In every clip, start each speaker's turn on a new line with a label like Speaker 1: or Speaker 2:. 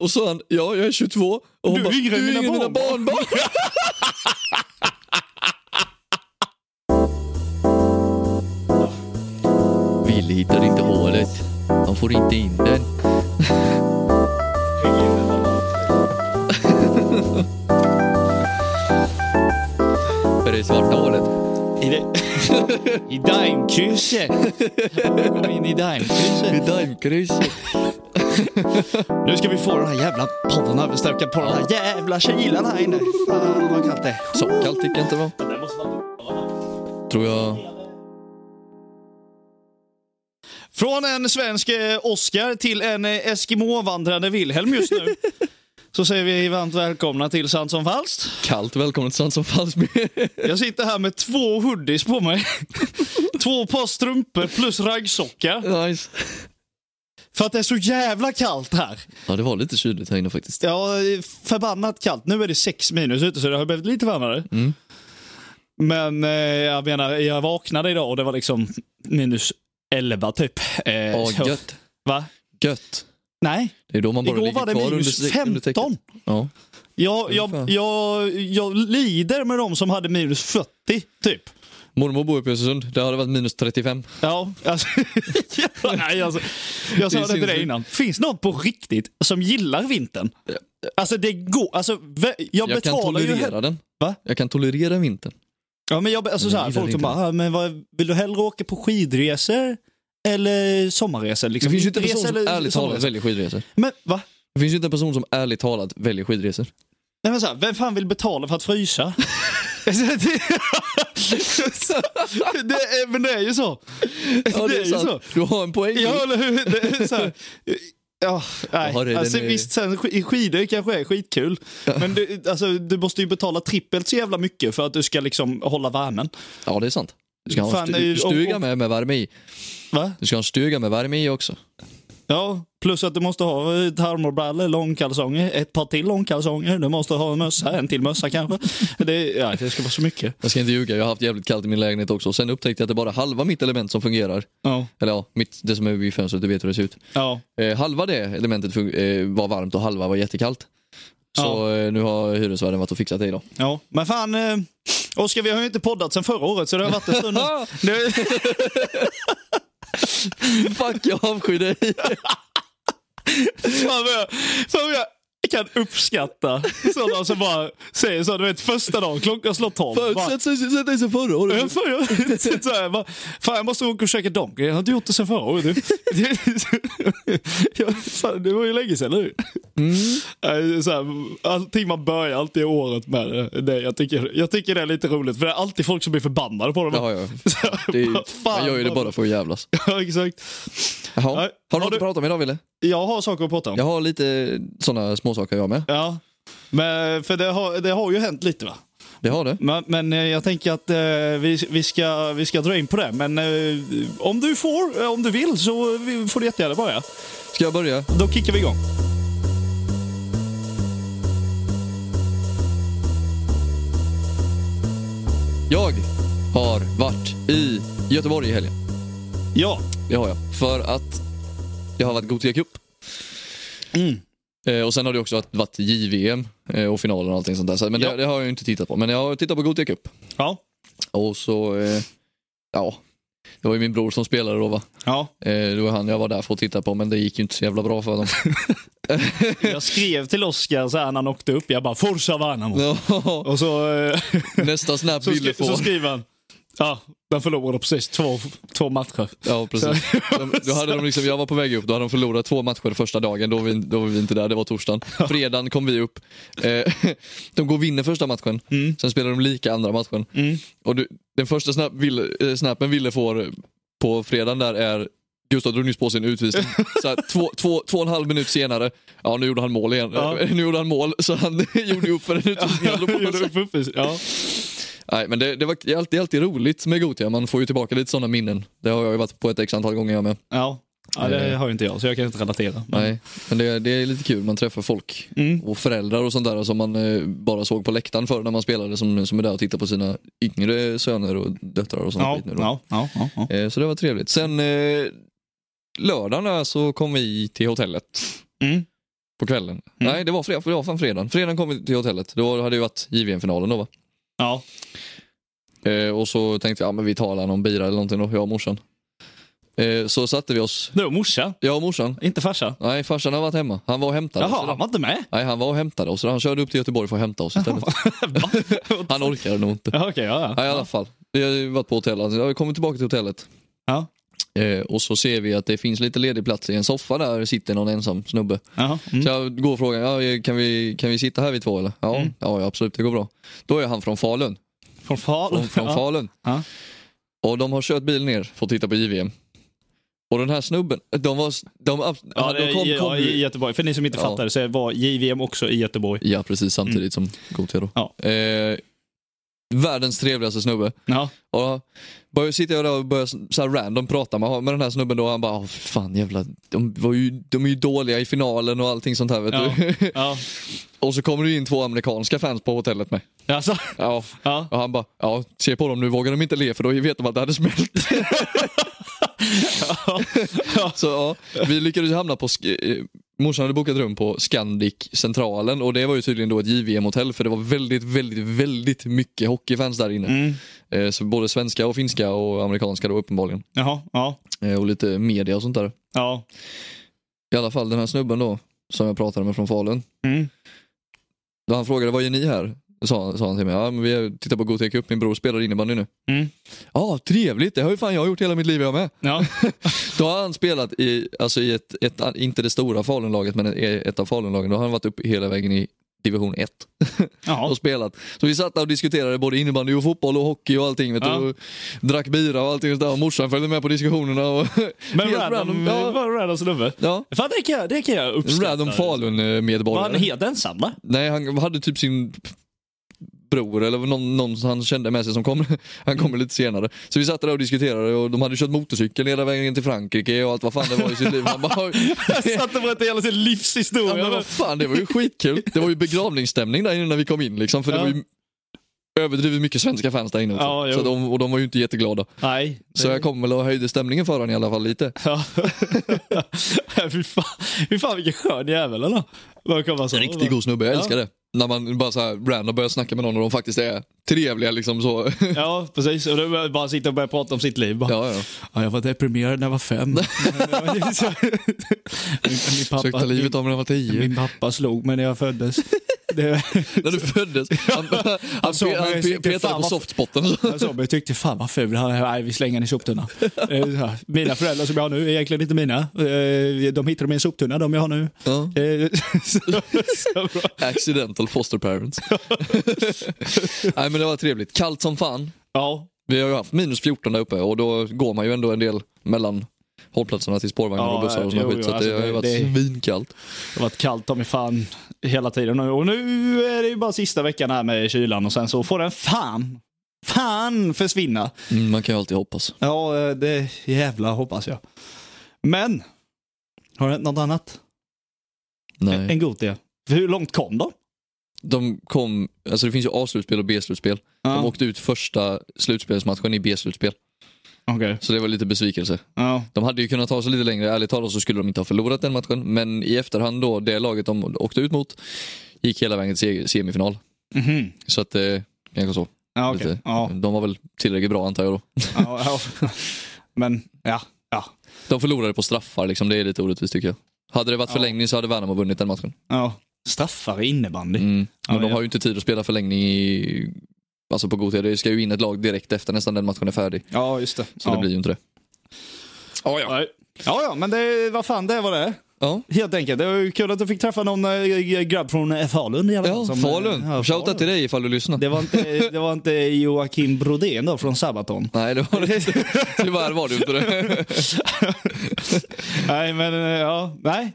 Speaker 1: Och så han, ja jag är 22. Och hon
Speaker 2: Du är
Speaker 1: bara,
Speaker 2: yngre än
Speaker 1: du är yngre
Speaker 2: mina
Speaker 1: än mina
Speaker 2: barnbarn."
Speaker 1: barnbarn. Ville hittar inte hålet. De får inte in den. För det är svarta hålet.
Speaker 2: I, det... I daimkrysset. Kom in i daimkrysset.
Speaker 1: Vid daimkrysset.
Speaker 2: Nu ska vi få den här jävla podden här. Vi ska på den här jävla kylan här inne. Fan vad kallt det är.
Speaker 1: Så kallt gick det inte va? Tror jag.
Speaker 2: Från en svensk eh, Oscar till en eh, Eskimo-vandrande Wilhelm just nu. Så säger vi varmt välkomna till Sant som falskt.
Speaker 1: Kallt välkommen till Sant som falskt.
Speaker 2: Jag sitter här med två hoodies på mig. Två par strumpor plus raggsockar.
Speaker 1: nice.
Speaker 2: För att det är så jävla kallt här.
Speaker 1: Ja det var lite kyligt här inne faktiskt.
Speaker 2: Ja, förbannat kallt. Nu är det sex minus ute så det har blivit lite varmare.
Speaker 1: Mm.
Speaker 2: Men eh, jag menar, jag vaknade idag och det var liksom minus 11 typ. Eh,
Speaker 1: Ja
Speaker 2: så-
Speaker 1: gött.
Speaker 2: Va?
Speaker 1: Gött.
Speaker 2: Nej,
Speaker 1: Det är då man bara
Speaker 2: igår
Speaker 1: ligger
Speaker 2: var det
Speaker 1: kvar under,
Speaker 2: minus
Speaker 1: se- under täcket.
Speaker 2: 15.
Speaker 1: Ja.
Speaker 2: Jag, jag,
Speaker 1: Ungefär.
Speaker 2: jag, jag lider med de som hade minus 40, typ.
Speaker 1: Mormor bor uppe i Östersund. Det hade varit minus 35.
Speaker 2: Ja, alltså, ja, nej, alltså, jag sa
Speaker 1: Det
Speaker 2: det
Speaker 1: är
Speaker 2: till dig
Speaker 1: sinnessjukt.
Speaker 2: innan. Finns någon på riktigt som gillar vintern? Alltså det går, alltså, vä- jag,
Speaker 1: Jag, kan
Speaker 2: betalar ju...
Speaker 1: tolerera den.
Speaker 2: Va?
Speaker 1: Jag kan tolerera vintern.
Speaker 2: Ja, men jag, alltså,
Speaker 1: Jag
Speaker 2: så här,
Speaker 1: gillar
Speaker 2: folk som
Speaker 1: inte
Speaker 2: bara, "Ah, men vad, vill du hellre åka på skidresor eller sommarresor?
Speaker 1: Det
Speaker 2: Liksom,
Speaker 1: finns ju inte en
Speaker 2: vinterresor
Speaker 1: person som
Speaker 2: eller
Speaker 1: ärligt talat
Speaker 2: sommarresor?"
Speaker 1: väljer skidresor.
Speaker 2: Men va?
Speaker 1: Det finns ju inte en person som ärligt talat väljer skidresor.
Speaker 2: Nej, men så här, vem fan vill betala för att frysa? det är, men det är ju så.
Speaker 1: Ja,
Speaker 2: det är ju
Speaker 1: sant.
Speaker 2: så.
Speaker 1: Du har en poäng.
Speaker 2: Ja, eller hur? Det är så här. Ja, nej.
Speaker 1: Ja, det är den
Speaker 2: alltså,
Speaker 1: är-
Speaker 2: visst, sen, sk- i skidor kanske är skitkul. Men du, alltså, du måste ju betala trippelt så jävla mycket för att du ska liksom hålla värmen.
Speaker 1: Ja, det är sant. Du ska ha
Speaker 2: Fan,
Speaker 1: en
Speaker 2: det är ju-
Speaker 1: stu- stuga med, med värme i.
Speaker 2: Va?
Speaker 1: Du ska ha en stuga med värme i också.
Speaker 2: Ja, plus att du måste ha eh, termobrallor, långkalsonger, ett par till långkalsonger. Du måste ha en mössa, en till mössa kanske. Det, ja, det ska vara så mycket.
Speaker 1: Jag ska inte ljuga, jag har haft jävligt kallt i min lägenhet också. Sen upptäckte jag att det är bara halva mitt element som fungerar.
Speaker 2: Ja,
Speaker 1: Eller ja, mitt, det som är vid fönstret, du vet hur det ser ut.
Speaker 2: ja.
Speaker 1: Eh, halva det elementet fun- eh, var varmt och halva var jättekallt. Så
Speaker 2: Ja.
Speaker 1: eh, nu har hyresvärden varit och fixat det idag.
Speaker 2: Ja, men fan. Eh, Oskar, vi har ju inte poddat sedan förra året så det har varit en stund nu.
Speaker 1: Ah,
Speaker 2: Det,
Speaker 1: Fuck, jag avskyr dig.
Speaker 2: fan vad jag, fan vad jag kan uppskatta sådana som bara säger så. Du vet, första dagen, klockan slår tolv. bara,
Speaker 1: Sätt sig- sätt dig sen förra
Speaker 2: "Ja,
Speaker 1: året.
Speaker 2: fan, jag- så här, bara, Fan, jag måste åka och käka Donken. Jag har inte gjort det sen förra året. du." Det- Jag- fan, Det var ju länge sedan nu.
Speaker 1: Mm.
Speaker 2: Eh, Så här, allting man börjar alltid året med. eh, Det, jag, tycker, jag tycker det är lite roligt för det är alltid folk som blir förbannade på dem.
Speaker 1: Ja, ja.
Speaker 2: Så här,
Speaker 1: Det är,
Speaker 2: bara,
Speaker 1: man gör ju det
Speaker 2: vad-
Speaker 1: bara för att jävlas.
Speaker 2: Ja, exakt.
Speaker 1: Jaha.
Speaker 2: Nej.
Speaker 1: Har du
Speaker 2: Har
Speaker 1: något
Speaker 2: du-
Speaker 1: att prata om idag Wille?
Speaker 2: Jag har saker att prata om.
Speaker 1: Jag
Speaker 2: Ja.
Speaker 1: har lite sådana småsaker jag med.
Speaker 2: Men, för det har, det har ju hänt lite va?
Speaker 1: Det har det.
Speaker 2: Men, men eh, jag tänker att eh, vi, vi, ska, vi ska dra in på det. Men eh, om du får, eh, om du vill så vi- får du jättegärna börja.
Speaker 1: Ska jag börja?
Speaker 2: Då kickar vi igång.
Speaker 1: Jag har varit i Göteborg i helgen.
Speaker 2: Ja.
Speaker 1: Det har jag. För att jag har varit Gothia Cup.
Speaker 2: Mm.
Speaker 1: Eh, och sen har det också varit, varit JVM eh, och finalen och allting sånt där. Så, men
Speaker 2: Ja.
Speaker 1: det, det har jag ju inte tittat på. Men jag har tittat på Gothia Cup.
Speaker 2: Ja.
Speaker 1: Och så, eh, ja. Det var ju min bror som spelade då va.
Speaker 2: ja.
Speaker 1: Eh, det var han jag var där för att titta på men det gick ju inte så jävla bra för dem.
Speaker 2: Jag skrev till Oskar så här när han åkte upp. Jag bara Forza Värnamo.
Speaker 1: Ja,
Speaker 2: Och så, eh,
Speaker 1: Nästa snap
Speaker 2: så,
Speaker 1: ville
Speaker 2: skri-
Speaker 1: få.
Speaker 2: så skriver han. Ja, den förlorade precis två, två matcher.
Speaker 1: Ja precis. De, då hade de liksom, jag var på väg upp, då hade de förlorat två matcher första dagen, då var vi, då var vi inte där, det var torsdagen. Fredagen kom vi upp. Eh, de går och vinner första matchen, sen spelar de lika andra matchen.
Speaker 2: Mm.
Speaker 1: Och du, den första snap, Wille- eh, snappen Ville får på fredagen där är Gustav drog nyss på sin utvisning. Så här, två, två, två och en halv minut senare, ja nu gjorde han mål igen. Eh,
Speaker 2: Ja.
Speaker 1: Nu gjorde han mål, så han gjorde ju upp för en utvisning han drog på sig.
Speaker 2: Upp, upp, upp. Ja.
Speaker 1: Nej, men det, det, var, det är alltid, alltid roligt med Gothia, man får ju tillbaka lite sådana minnen. Det har jag ju varit på ett x antal gånger jag med.
Speaker 2: Ja. ja, det har ju inte jag så jag kan inte relatera. Men-
Speaker 1: Nej, men det, det är lite kul. Man träffar folk
Speaker 2: Mm.
Speaker 1: och föräldrar och sånt där som man eh, bara såg på läktaren förr när man spelade som, som är där och tittar på sina yngre söner och döttrar och sånt
Speaker 2: Ja,
Speaker 1: skit nu då.
Speaker 2: ja, ja, ja, ja.
Speaker 1: Eh, så det var trevligt. Sen eh, lördagen där så kom vi till hotellet.
Speaker 2: Mm.
Speaker 1: På kvällen? Nej, det var, fredag, det var fan fredagen. Fredagen kom vi till hotellet. Då hade det ju varit JVM-finalen då va?
Speaker 2: Ja.
Speaker 1: Eh, och så tänkte jag, ja men vi talar någon bira eller någonting då, jag och morsan. Eh, så satte vi oss,
Speaker 2: Det var morsa,
Speaker 1: jag och morsan.
Speaker 2: inte farsa.
Speaker 1: Nej, farsan har varit hemma. Han var och hämtade oss.
Speaker 2: Jaha,
Speaker 1: idag.
Speaker 2: han var inte med?
Speaker 1: Nej, han var och hämtade oss. Han körde upp till Göteborg för att hämta oss istället.
Speaker 2: Va?
Speaker 1: Han orkade nog inte.
Speaker 2: Ja, Okej, ja, ja.
Speaker 1: Nej, i alla fall. Vi har ju varit på hotellet. Jag har kommit tillbaka till hotellet.
Speaker 2: Ja.
Speaker 1: Eh, och så ser vi att det finns lite ledig plats i en soffa där sitter någon ensam snubbe.
Speaker 2: Jaha, mm.
Speaker 1: Så jag går och frågar, ja, kan, vi, kan vi sitta här vi två eller? Ja,
Speaker 2: Mm.
Speaker 1: ja, absolut det går bra. Då är han från Falun.
Speaker 2: Från Falun.
Speaker 1: Från, från
Speaker 2: Ja.
Speaker 1: Falun.
Speaker 2: Ja.
Speaker 1: Och de har kört bil ner för att titta på JVM. Och den här snubben, de var... De, ja,
Speaker 2: Ja,
Speaker 1: de
Speaker 2: det,
Speaker 1: kom,
Speaker 2: ja,
Speaker 1: kom,
Speaker 2: i Göteborg. För ni som inte
Speaker 1: Ja.
Speaker 2: fattar så var JVM också i Göteborg.
Speaker 1: ja, precis samtidigt som Gothia då.
Speaker 2: Mm. Ja.
Speaker 1: Eh, världens trevligaste snubbe.
Speaker 2: Ja.
Speaker 1: Och börjar sitta jag där och börjar så här random prata med, med den här snubben då och han bara, "Åh, fan jävla, de, var ju, de är ju dåliga i finalen och allting sånt här vet
Speaker 2: Ja.
Speaker 1: du.
Speaker 2: Ja.
Speaker 1: och så kommer det in två amerikanska fans på hotellet med.
Speaker 2: Alltså,
Speaker 1: Ja.
Speaker 2: ja.
Speaker 1: Och han bara, ja se på dem nu vågar de inte le för då vet de att det hade smält. så ja, vi lyckades ju hamna på, Sk- eh, morsan hade bokat rum på Scandic centralen och det var ju tydligen då ett JVM-hotell för det var väldigt, väldigt, väldigt mycket hockeyfans där inne.
Speaker 2: Mm.
Speaker 1: Eh, Så både svenska och finska och amerikanska då uppenbarligen.
Speaker 2: Jaha, ja.
Speaker 1: Eh, Och lite media och sånt där.
Speaker 2: Ja.
Speaker 1: I alla fall den här snubben då, som jag pratade med från Falun.
Speaker 2: Mm.
Speaker 1: Då han frågade, vad gör ni här? Sa, sa han till mig. Ja, men vi tittar på Gothia Cup, min bror spelar innebandy nu.
Speaker 2: Mm.
Speaker 1: Ja, trevligt. Det har ju fan jag gjort hela mitt liv jag med.
Speaker 2: Ja.
Speaker 1: Då har han spelat i, alltså i ett, ett, inte det stora Falunlaget, men ett ett av Falunlagen. Då har han varit uppe hela vägen i division 1
Speaker 2: Ja.
Speaker 1: och spelat. Så vi satt där och diskuterade både innebandy och fotboll och hockey och allting. Vet du,
Speaker 2: Ja.
Speaker 1: och drack bira och allting. Och där. Och morsan följde med på diskussionerna. Och
Speaker 2: Men
Speaker 1: Helt
Speaker 2: random,
Speaker 1: random,
Speaker 2: ja.
Speaker 1: ja.
Speaker 2: random snubbe.
Speaker 1: ja,
Speaker 2: Fan, det kan jag, det kan jag uppskatta.
Speaker 1: random
Speaker 2: Var han
Speaker 1: Falun-medborgare.
Speaker 2: helt ensam va?
Speaker 1: Nej, han hade typ sin bror eller någon, någon som han kände med sig som kom. Han kommer lite senare. Så vi satt där och diskuterade och de hade kört motorcykel hela vägen till Frankrike och allt vad fan det var i sitt liv. Man bara,
Speaker 2: Satt och berättade hela sin
Speaker 1: ja,
Speaker 2: livshistoria.
Speaker 1: men vad fan, det var ju skitkul. Det var ju begravningsstämning där inne när vi kom in liksom. För det
Speaker 2: Ja.
Speaker 1: var ju överdrivet mycket svenska fans där inne också.
Speaker 2: Ja, jo.
Speaker 1: så de, och de var ju inte jätteglada.
Speaker 2: Nej.
Speaker 1: Så jag kom väl och höjde stämningen för honom i alla fall lite.
Speaker 2: Ja. fy, fan, fy fan vilken skön jävel eller? Bara komma så.
Speaker 1: Riktigt god snubbe, jag
Speaker 2: Ja.
Speaker 1: älskar det. När man bara så här random börjar snacka med någon och de faktiskt är trevliga liksom så.
Speaker 2: Ja, precis. Och då bara sitta och börja prata om sitt liv. Bara,
Speaker 1: Ja, ja.
Speaker 2: Ja, jag var deprimerad när jag var fem. min, min, pappa,
Speaker 1: Försökte livet av när jag var tio.
Speaker 2: min pappa slog mig när jag föddes. Det,
Speaker 1: När du föddes. Han, han, han,
Speaker 2: sa,
Speaker 1: pe-
Speaker 2: men
Speaker 1: han
Speaker 2: jag
Speaker 1: pe-
Speaker 2: tyckte
Speaker 1: petade
Speaker 2: fan
Speaker 1: på
Speaker 2: vad-
Speaker 1: softspotten.
Speaker 2: jag, sa, men jag tyckte fan vad ful han är. Nej, vi slänger den i soptunnan. Eh, så här, Mina föräldrar som jag har nu är egentligen inte mina. Eh, De hittade mig i en soptunna, de jag har nu.
Speaker 1: Ja.
Speaker 2: Eh, Så, så bra.
Speaker 1: Accidental foster parents. Nej men det var trevligt. Kallt som fan.
Speaker 2: Ja,
Speaker 1: Vi har ju haft minus 14 där uppe och då går man ju ändå en del mellan hållplatserna till spårvagnar
Speaker 2: Ja,
Speaker 1: och bussar och sånt
Speaker 2: jo,
Speaker 1: skit. Så
Speaker 2: jo,
Speaker 1: att det
Speaker 2: alltså,
Speaker 1: har ju
Speaker 2: det-
Speaker 1: varit
Speaker 2: det-
Speaker 1: svinkallt.
Speaker 2: Det har varit kallt om i fan hela tiden nu. Och nu är det ju bara sista veckan här med kylan och sen så får den fan, fan försvinna.
Speaker 1: Mm, man kan ju alltid hoppas.
Speaker 2: Ja, eh, det jävla hoppas jag. Men, har det hänt något annat?
Speaker 1: Nej.
Speaker 2: En god det. Hur långt kom de?
Speaker 1: De kom, alltså det finns ju A-slutspel och B-slutspel.
Speaker 2: Ja,
Speaker 1: De åkte ut första slutspelsmatchen i B-slutspel.
Speaker 2: okej.
Speaker 1: Så det var lite besvikelse.
Speaker 2: Ja,
Speaker 1: De hade ju kunnat ta sig lite längre, ärligt talat så skulle de inte ha förlorat den matchen. Men i efterhand då, det laget de åkte ut mot gick hela vägen till se- semifinal.
Speaker 2: Mhm.
Speaker 1: Så att eh, kanske så.
Speaker 2: ja okej.
Speaker 1: Lite.
Speaker 2: Ja,
Speaker 1: De var väl tillräckligt bra antar jag då.
Speaker 2: ja, ja. Men, ja, ja.
Speaker 1: De förlorade på straffar liksom, det är lite orättvist tycker jag. Hade det varit
Speaker 2: Ja.
Speaker 1: förlängning så hade Värnamo vunnit den matchen.
Speaker 2: ja. Straffar i innebandy.
Speaker 1: Mm.
Speaker 2: Ja,
Speaker 1: Men de
Speaker 2: ja.
Speaker 1: har ju inte tid att spela förlängning i, alltså på Gothia. Det ska ju in ett lag direkt efter nästan den matchen är färdig.
Speaker 2: Ja, just det.
Speaker 1: Så
Speaker 2: ja.
Speaker 1: det blir ju inte det.
Speaker 2: Ja, ja. ja, ja, men det, vad fan det var det.
Speaker 1: Ja,
Speaker 2: Helt enkelt. Det var ju kul att du fick träffa någon eh, grabb från eh, Falun i alla fall.
Speaker 1: ja
Speaker 2: som, eh, ja,
Speaker 1: Falun. Shoutout till dig ifall du lyssnar.
Speaker 2: Det var, inte, det var inte Joakim Brodén då från Sabaton.
Speaker 1: Nej, det var det inte. Tyvärr var det inte det.
Speaker 2: Nej, men eh, ja, nej.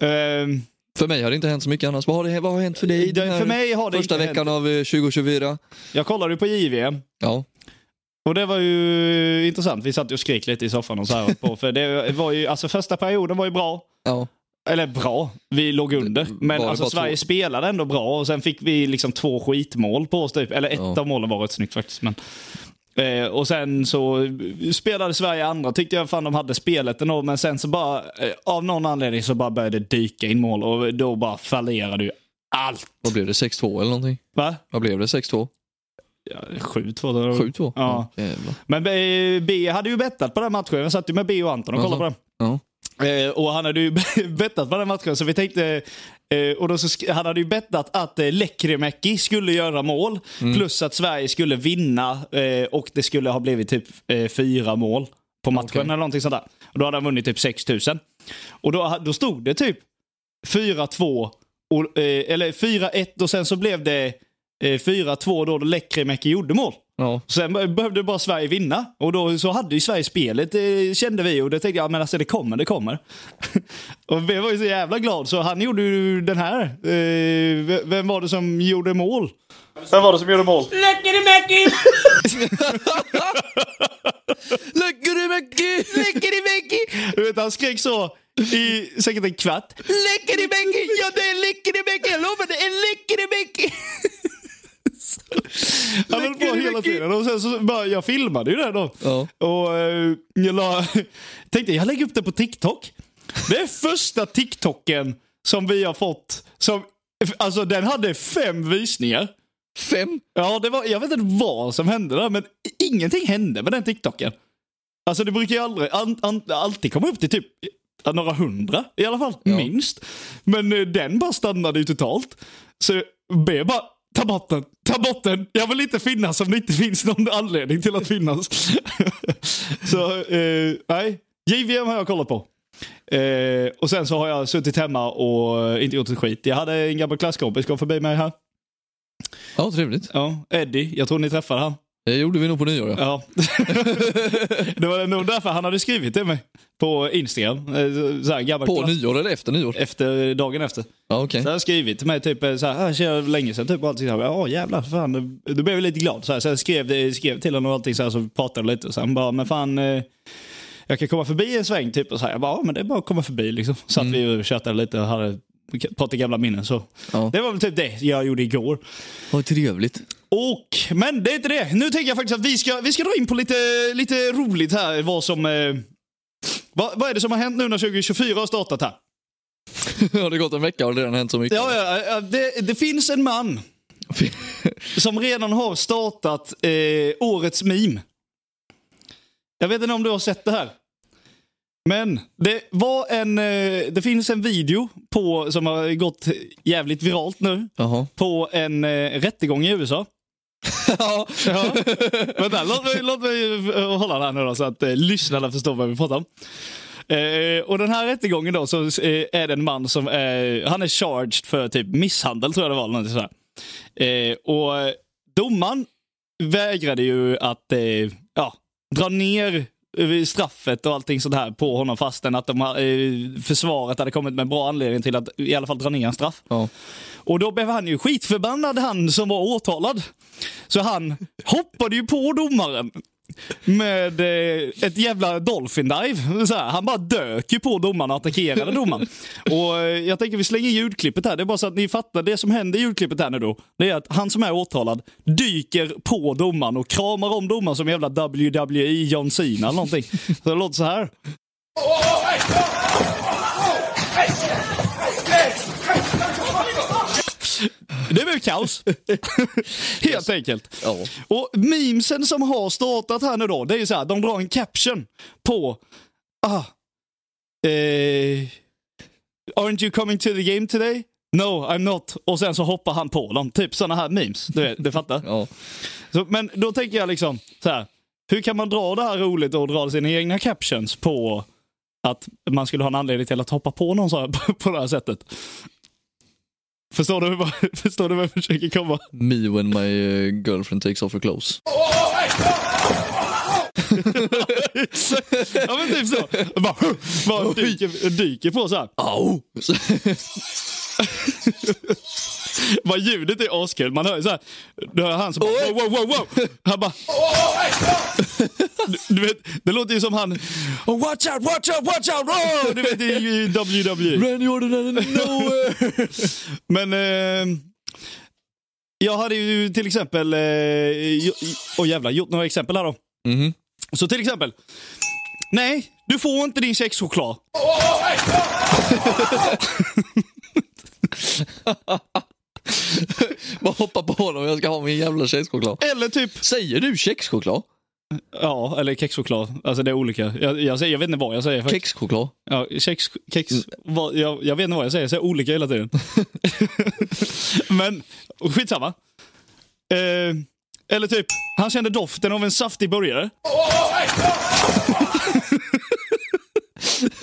Speaker 2: Ehm,
Speaker 1: För mig har det inte hänt så mycket annars. Vad har, det, vad har hänt för dig den
Speaker 2: det,
Speaker 1: här
Speaker 2: för mig har det
Speaker 1: första
Speaker 2: inte
Speaker 1: veckan
Speaker 2: hänt.
Speaker 1: av eh, 2024?
Speaker 2: Jag kollade ju på JVM.
Speaker 1: Ja.
Speaker 2: Och det var ju intressant. Vi satt ju och skrek lite i soffan och så här på. För det var ju, alltså första perioden var ju bra.
Speaker 1: ja.
Speaker 2: Eller bra, vi låg under.
Speaker 1: Var
Speaker 2: Men
Speaker 1: det
Speaker 2: alltså
Speaker 1: bara
Speaker 2: Sverige
Speaker 1: två?
Speaker 2: spelade ändå bra och sen fick vi liksom två skitmål på oss typ. Eller ett
Speaker 1: Ja.
Speaker 2: av målen var rätt snyggt faktiskt. Men, Eh, och sen så spelade Sverige andra, tyckte jag fan de hade spelet ändå, men sen så bara, eh, av någon anledning så bara började det dyka in mål och då bara fallerade ju allt.
Speaker 1: Vad blev det? 6-2 eller någonting?
Speaker 2: Va?
Speaker 1: Vad blev det? 6-2?
Speaker 2: Ja, 7-2. då.
Speaker 1: 7-2?
Speaker 2: Ja.
Speaker 1: jävlar.
Speaker 2: Men eh, B hade ju bettat på den matchen. Jag satt ju med B och Anton och kollade på den.
Speaker 1: Ja.
Speaker 2: Eh, och han hade ju bettat på den matchen, så vi tänkte... Eh, och då så sk- han hade ju bettat att eh, Lekkerimäki skulle göra mål, plus att Sverige skulle vinna eh, och det skulle ha blivit typ eh, fyra mål på matchen
Speaker 1: Okej.
Speaker 2: eller någonting sånt där. Och då hade han vunnit typ 6 000. Och då, då stod det typ 4-2, och, eh, eller 4-1 och sen så blev det eh, 4-2 då Lekkerimäki gjorde mål.
Speaker 1: ja.
Speaker 2: Sen be- behövde bara Sverige vinna och då så hade ju Sverige spelet eh, kände vi och det tänkte jag men alltså det kommer, det kommer. och vi var ju så jävla glad så han gjorde ju den här. Eh, v- vem var det som gjorde mål? Vem var det som gjorde mål?
Speaker 3: Lekkeri Mäkki!
Speaker 1: Lekkerimäki! Lekkerimäki!
Speaker 2: Du vet han skrek så i säkert en kvart.
Speaker 1: Lekkerimäki! Ja, det är Lekkerimäki! Jag lovar, det är Lekkerimäki!
Speaker 2: Han höll på hela tiden och sen så bara, jag filmade ju det då.
Speaker 1: Ja.
Speaker 2: Och eh, jag la, tänkte jag lägger upp det på TikTok. Det är första TikToken som vi har fått som, alltså den hade fem visningar.
Speaker 1: Fem?
Speaker 2: Ja, det var, jag vet inte vad som hände där, men ingenting hände med den TikToken. Alltså det brukar ju aldrig, an, an, alltid komma upp till typ ja, några hundra i alla fall, minst. Men eh, den bara stannade ju totalt. Så B bara, ta bort den, ta bort den. Jag vill inte finnas om det inte finns någon anledning till att finnas. så eh, nej, JVM har jag kollat på. Eh, och sen så har jag suttit hemma och eh, inte gjort ett skit. Jag hade en gammal klasskompis kom förbi mig här.
Speaker 1: Ja, trevligt.
Speaker 2: Ja, Eddie. Jag tror ni träffade han.
Speaker 1: Det gjorde vi nog på nyår, ja.
Speaker 2: Ja. det var nog därför han hade skrivit till mig på Instagram. Eh, så- Så här, gammal
Speaker 1: På
Speaker 2: klass-
Speaker 1: nyår eller efter nyår?
Speaker 2: Efter dagen efter.
Speaker 1: Ja, okej.
Speaker 2: Så han skrivit till mig typ eh, så här, "Ah, tjena, länge sedan typ och allting. Så här, Ja jävlar, fan. Då blev jag lite glad. Så här, så jag skrev, eh, skrev till honom och allting så här, så vi pratade lite. Och sen bara, men fan. eh, Jag kan komma förbi en sväng typ. Och så här, jag bara, ja men det är bara att komma förbi liksom. Så att
Speaker 1: Mm.
Speaker 2: vi och tjötade lite och hade, pratade gamla minnen så.
Speaker 1: Ja.
Speaker 2: Det var väl typ det jag gjorde igår.
Speaker 1: Vad trevligt.
Speaker 2: Och, men det är inte det. Nu tänker jag faktiskt att vi ska, vi ska dra in på lite, lite roligt här. Vad som... Eh, vad, vad är det som har hänt nu när 2024 har startat här?
Speaker 1: Har det gått en vecka och det redan hänt så mycket?
Speaker 2: Ja, ja, ja, det, det finns en man som redan har startat eh, årets meme. Jag vet inte om du har sett det här. Men det var en... Eh, det finns en video på, som har gått jävligt viralt nu.
Speaker 1: Jaha.
Speaker 2: På en eh, rättegång i USA.
Speaker 1: Ja.
Speaker 2: Ja. Vänta, låt mig, låt mig eh, hålla det här nu då, så att eh, lyssnarna förstår vad vi pratar om. Eh, och den här rättegången då så eh, är det en man som eh, han är charged för typ misshandel tror jag det var. eller någonting sådär. Eh, och eh, domaren vägrade ju att eh, ja, dra ner eh, straffet och allting sånt här på honom fastän att de, har, eh, försvaret hade kommit med en bra anledning till att i alla fall dra ner en straff.
Speaker 1: ja.
Speaker 2: Och då blev han ju skitförbannad han som var åtalad. Så han hoppade ju på domaren med eh, ett jävla dolphin dive. Så här, han bara dök ju på domaren och attackerade domaren. Och eh, jag tänker vi slänger ljudklippet här. Det är bara så att ni fattar. Det som händer i ljudklippet här nu då. Det är att han som är åtalad dyker på domaren och kramar om domaren som jävla WWE John Cena eller någonting. Så det låter så här. Det blev kaos. Helt enkelt.
Speaker 1: Ja.
Speaker 2: Och memesen som har startat här nu då, det är ju så här, de drar en caption på... Ah, eh, Aren't you coming to the game today? No, I'm not. Och sen så hoppar han på dem. Typ sådana här memes. Du, vet, du fattar?
Speaker 1: ja.
Speaker 2: Så, men då tänker jag liksom så här. Hur kan man dra det här roligt och dra sina egna captions på att man skulle ha en anledning till att hoppa på någon så här, på, på det här sättet? Förstår du, vad- förstår du vad jag försöker komma?
Speaker 1: Me when my eh, girlfriend takes off her clothes.
Speaker 2: Ja men typ så. Bara, bara dyker, dyker på så här.
Speaker 1: Au!
Speaker 2: Bara ljudet är askul. Man hör ju så här. Du hör han som bara wow, wow, wow, wow. Han bara... Du, du vet, det låter ju som han... Oh, watch out, watch out, watch out! Oh! Du vet, det är ju i E. WWE.
Speaker 1: Ran Jordan out of nowhere!
Speaker 2: Men eh, Jag hade ju till exempel... Eh, jo- åh jävlar, gjort några exempel här då.
Speaker 1: Mhm.
Speaker 2: Så till exempel. Nej, du får inte din kexchoklad.
Speaker 1: Bara hoppa på dem, jag ska ha min jävla kexchoklad.
Speaker 2: Eller typ...
Speaker 1: Säger du kexchoklad?
Speaker 2: Ja, eller kexchoklad. Alltså det är olika. Jag, jag, säger, jag vet inte vad jag säger. faktiskt.
Speaker 1: Kexchoklad?
Speaker 2: Ja, kex, kex, vad, jag, jag vet inte vad jag säger, jag säger olika hela tiden. Men skitsamma. Eh, eller typ, han kände doften av en saftig burgare.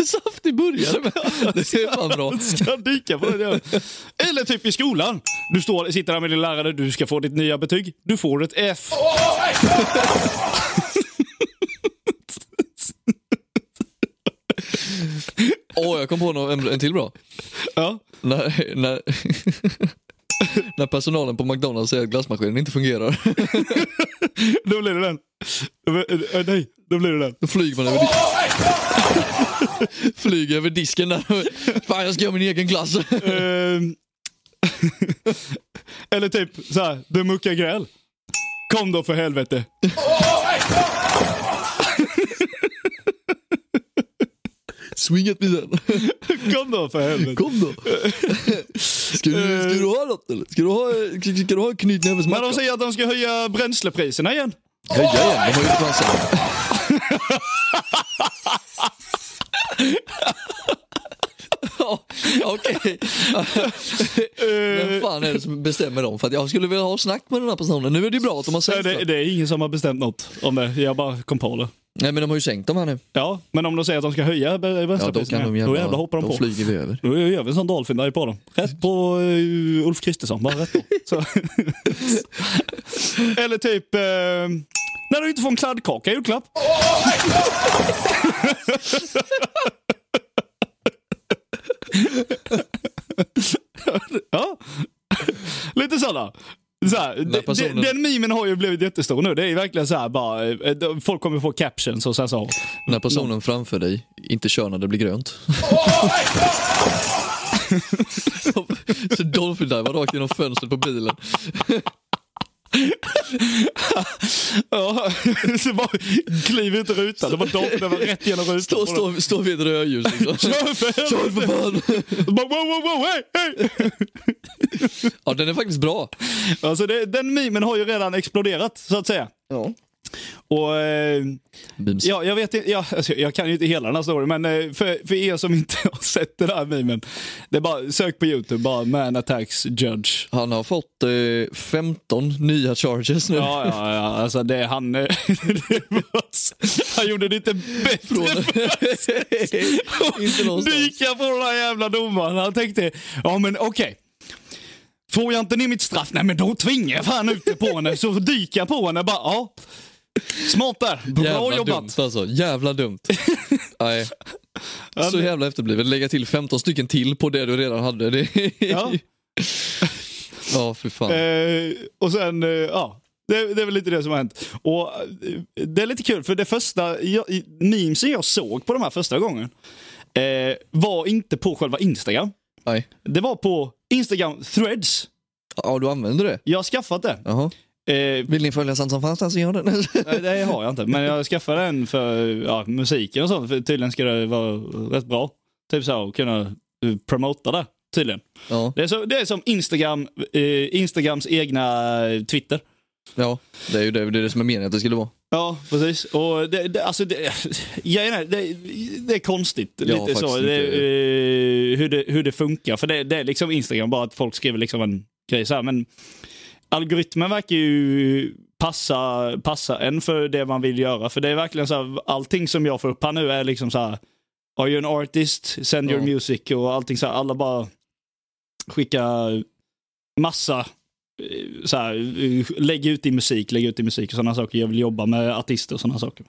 Speaker 1: Saftig burgare med. Det är fan bra.
Speaker 2: Ska dyka på det. Eller typ i skolan. Du står, sitter där med din lärare, du ska få ditt nya betyg. Du får ett F.
Speaker 1: Åh, jag kom på nå- en, en till bra.
Speaker 2: Ja.
Speaker 1: När, när, när personalen på McDonalds säger att glassmaskinen inte fungerar,
Speaker 2: Då blir det den. Då blir- eh, Nej, då blir det den.
Speaker 1: då flyger man över disken. flyger över disken där. Fan, jag ska göra min egen glass.
Speaker 2: Ehm. Eller typ så här, du muckar gräl. Kom då för helvete.
Speaker 1: Swinget med den.
Speaker 2: Kom då för helvete.
Speaker 1: Kom då. Ska du, ska du ha något eller? Ska du ha, ska, ska du ha en
Speaker 2: Men de
Speaker 1: knytnävesmacka?
Speaker 2: säger att de ska höja bränslepriserna igen.
Speaker 1: Höja igen, de har ju fan sagt. Ja, Okej, vem
Speaker 2: Eh,
Speaker 1: fan är det som bestämmer dem? För att jag skulle vilja ha snack med den här personen. Nu är det ju bra att de har
Speaker 2: nej,
Speaker 1: sänkt
Speaker 2: det,
Speaker 1: dem.
Speaker 2: det är ingen som har bestämt något om det. Jag bara kom på det.
Speaker 1: Nej men de har ju sänkt dem här nu.
Speaker 2: Ja, men om de säger att de ska höja br-
Speaker 1: Ja, då
Speaker 2: bränslepriserna,
Speaker 1: kan de
Speaker 2: då jävlar hoppar de
Speaker 1: då
Speaker 2: på.
Speaker 1: flyger vi över.
Speaker 2: Då gör vi en sån Dolphin där i podden. Rätt på eh, Ulf Kristersson, bara rätt på. Så. Eller typ, eh, när du inte får en kladdkaka i julklapp. ja, lite sådana. Så här, de-
Speaker 1: personen-
Speaker 2: de- den memen har ju blivit jättestor nu. Det är verkligen så här bara, eh, de- folk kommer få captions och sen så.
Speaker 1: När personen framför dig inte kör när det blir grönt. Så Dolphin divar rakt genom fönstret på bilen.
Speaker 2: Ja, så bara kliver ut i rutan. Det var dolphin över rätt genom rutan.
Speaker 1: Står stå, stå vid ett rödljus liksom.
Speaker 2: Kör för
Speaker 1: Kör
Speaker 2: helvete!
Speaker 1: för fan!
Speaker 2: Bara, wow, wow, wow, hey, hey.
Speaker 1: Ja den är faktiskt bra.
Speaker 2: Alltså det, den memen har ju redan exploderat, så att säga.
Speaker 1: Ja.
Speaker 2: Och eh,
Speaker 1: Beams.
Speaker 2: ja, jag vet inte, ja, alltså, jag kan ju inte hela den här storyn, men eh, för, för er som inte har sett den här memen. Det är bara, sök på YouTube, bara man attacks judge.
Speaker 1: Han har fått eh, 15 nya charges nu.
Speaker 2: Ja, ja, ja, alltså det är han. eh, det var, han gjorde det inte bättre
Speaker 1: Från... inte någonstans.
Speaker 2: Dyka på den här jävla domaren. Han tänkte, ja men okej. Får jag inte ner mitt straff, nej men då tvingar jag fan ut det på henne. Så dyker jag på henne bara, ja. Smart där, bra
Speaker 1: Jävla
Speaker 2: jobbat.
Speaker 1: dumt alltså. Jävla dumt. Nej. Så jävla efterblivet. Lägga till 15 stycken till på det du redan hade. Det...
Speaker 2: Ja.
Speaker 1: ja, för fan.
Speaker 2: Eh, och sen, eh, ja. Det, det är väl lite det som har hänt. Och eh, Det är lite kul, för det första jag, i- memesen jag såg på de här första gången eh, var inte på själva Instagram.
Speaker 1: Nej.
Speaker 2: Det var på Instagram Threads.
Speaker 1: Ja, du använder det?
Speaker 2: Jag har skaffat det.
Speaker 1: Jaha.
Speaker 2: Eh,
Speaker 1: Vill ni följa Sant som fanns så gör det.
Speaker 2: Nej, det har jag inte. Men jag skaffade en för ja, musiken och sånt. För tydligen ska det vara rätt bra. Typ så här, att kunna eh, promota det. Tydligen.
Speaker 1: ja.
Speaker 2: Det är, så, det är som Instagram, eh, Instagrams egna eh, Twitter.
Speaker 1: ja, det är ju det, det, är det som är meningen att det skulle vara.
Speaker 2: Ja, precis. Och det, det, alltså det, grejen är, det, det är konstigt.
Speaker 1: Ja,
Speaker 2: lite så.
Speaker 1: faktiskt
Speaker 2: Det,
Speaker 1: inte.
Speaker 2: eh, hur, det, hur det funkar. För det, det är liksom Instagram, bara att folk skriver liksom en grej så här. Men algoritmen verkar ju passa, passa en för det man vill göra. För det är verkligen så här, allting som jag får upp här nu är liksom så här. Are you an artist? Send your
Speaker 1: Ja.
Speaker 2: music och allting så här. Alla bara skickar massa eh, så här, eh, lägg ut din musik, lägg ut din musik och sådana saker. Jag vill jobba med artister och sådana saker.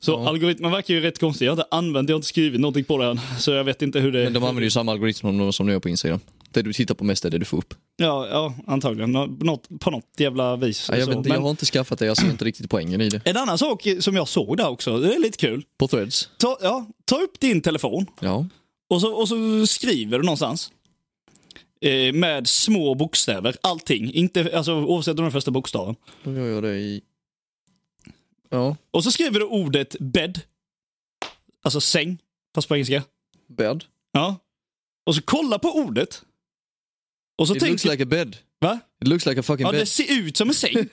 Speaker 2: Så
Speaker 1: Ja.
Speaker 2: algoritmen verkar ju rätt konstig. Jag har inte använt, jag har inte skrivit någonting på den. Så jag vet inte hur det...
Speaker 1: Men de använder ju samma algoritm som de- som du gör på Instagram. Det du tittar på mest är det du får upp.
Speaker 2: Ja, ja antagligen. Nå- Något, på något jävla vis.
Speaker 1: Ja, jag,
Speaker 2: Så.
Speaker 1: vet, inte,
Speaker 2: Men
Speaker 1: jag har inte skaffat det, jag ser inte riktigt poängen i det.
Speaker 2: En annan sak som jag såg där också, det är lite kul.
Speaker 1: På threads?
Speaker 2: Ta, ja, ta upp din telefon
Speaker 1: Ja.
Speaker 2: och så, och så skriver du någonstans. eh, med små bokstäver. Allting. Inte, alltså, oavsett om den första bokstaven.
Speaker 1: Då gör jag det i... Ja,
Speaker 2: Och så skriver du ordet bädd. Alltså säng, fast på engelska.
Speaker 1: bed.
Speaker 2: Ja. Och så kolla på ordet. Och så
Speaker 1: It looks
Speaker 2: tänker
Speaker 1: like a bed.
Speaker 2: Va?
Speaker 1: It looks like a fucking
Speaker 2: Ja, det
Speaker 1: bed.
Speaker 2: ser ut som en säng.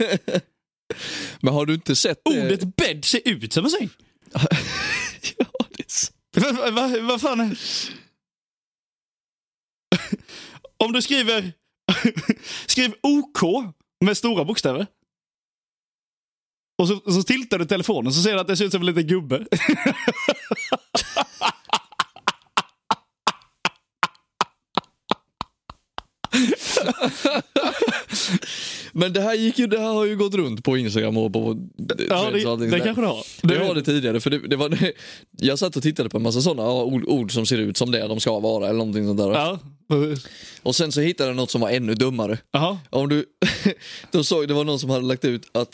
Speaker 1: Men har du inte sett eh, det?
Speaker 2: Ordet bädd ser ut som en säng.
Speaker 1: ja, det är så-
Speaker 2: Vad va, va vad fan är... Om du skriver... Skriv OK med stora bokstäver. Och så, så tiltar du telefonen så ser du att det ser ut som en liten gubbe.
Speaker 1: Men det här, gick ju, det här har ju gått runt på Instagram och på...
Speaker 2: Ja,
Speaker 1: Threads och
Speaker 2: det,
Speaker 1: allting
Speaker 2: det
Speaker 1: sådär.
Speaker 2: kanske du har.
Speaker 1: Det var det tidigare, för det, det var Jag satt och tittade på en massa sådana ord, ord som ser ut som det de ska vara eller någonting sånt där.
Speaker 2: Ja.
Speaker 1: Och sen så hittade jag något som var ännu dummare.
Speaker 2: Jaha.
Speaker 1: Om du, då såg det var någon som hade lagt ut att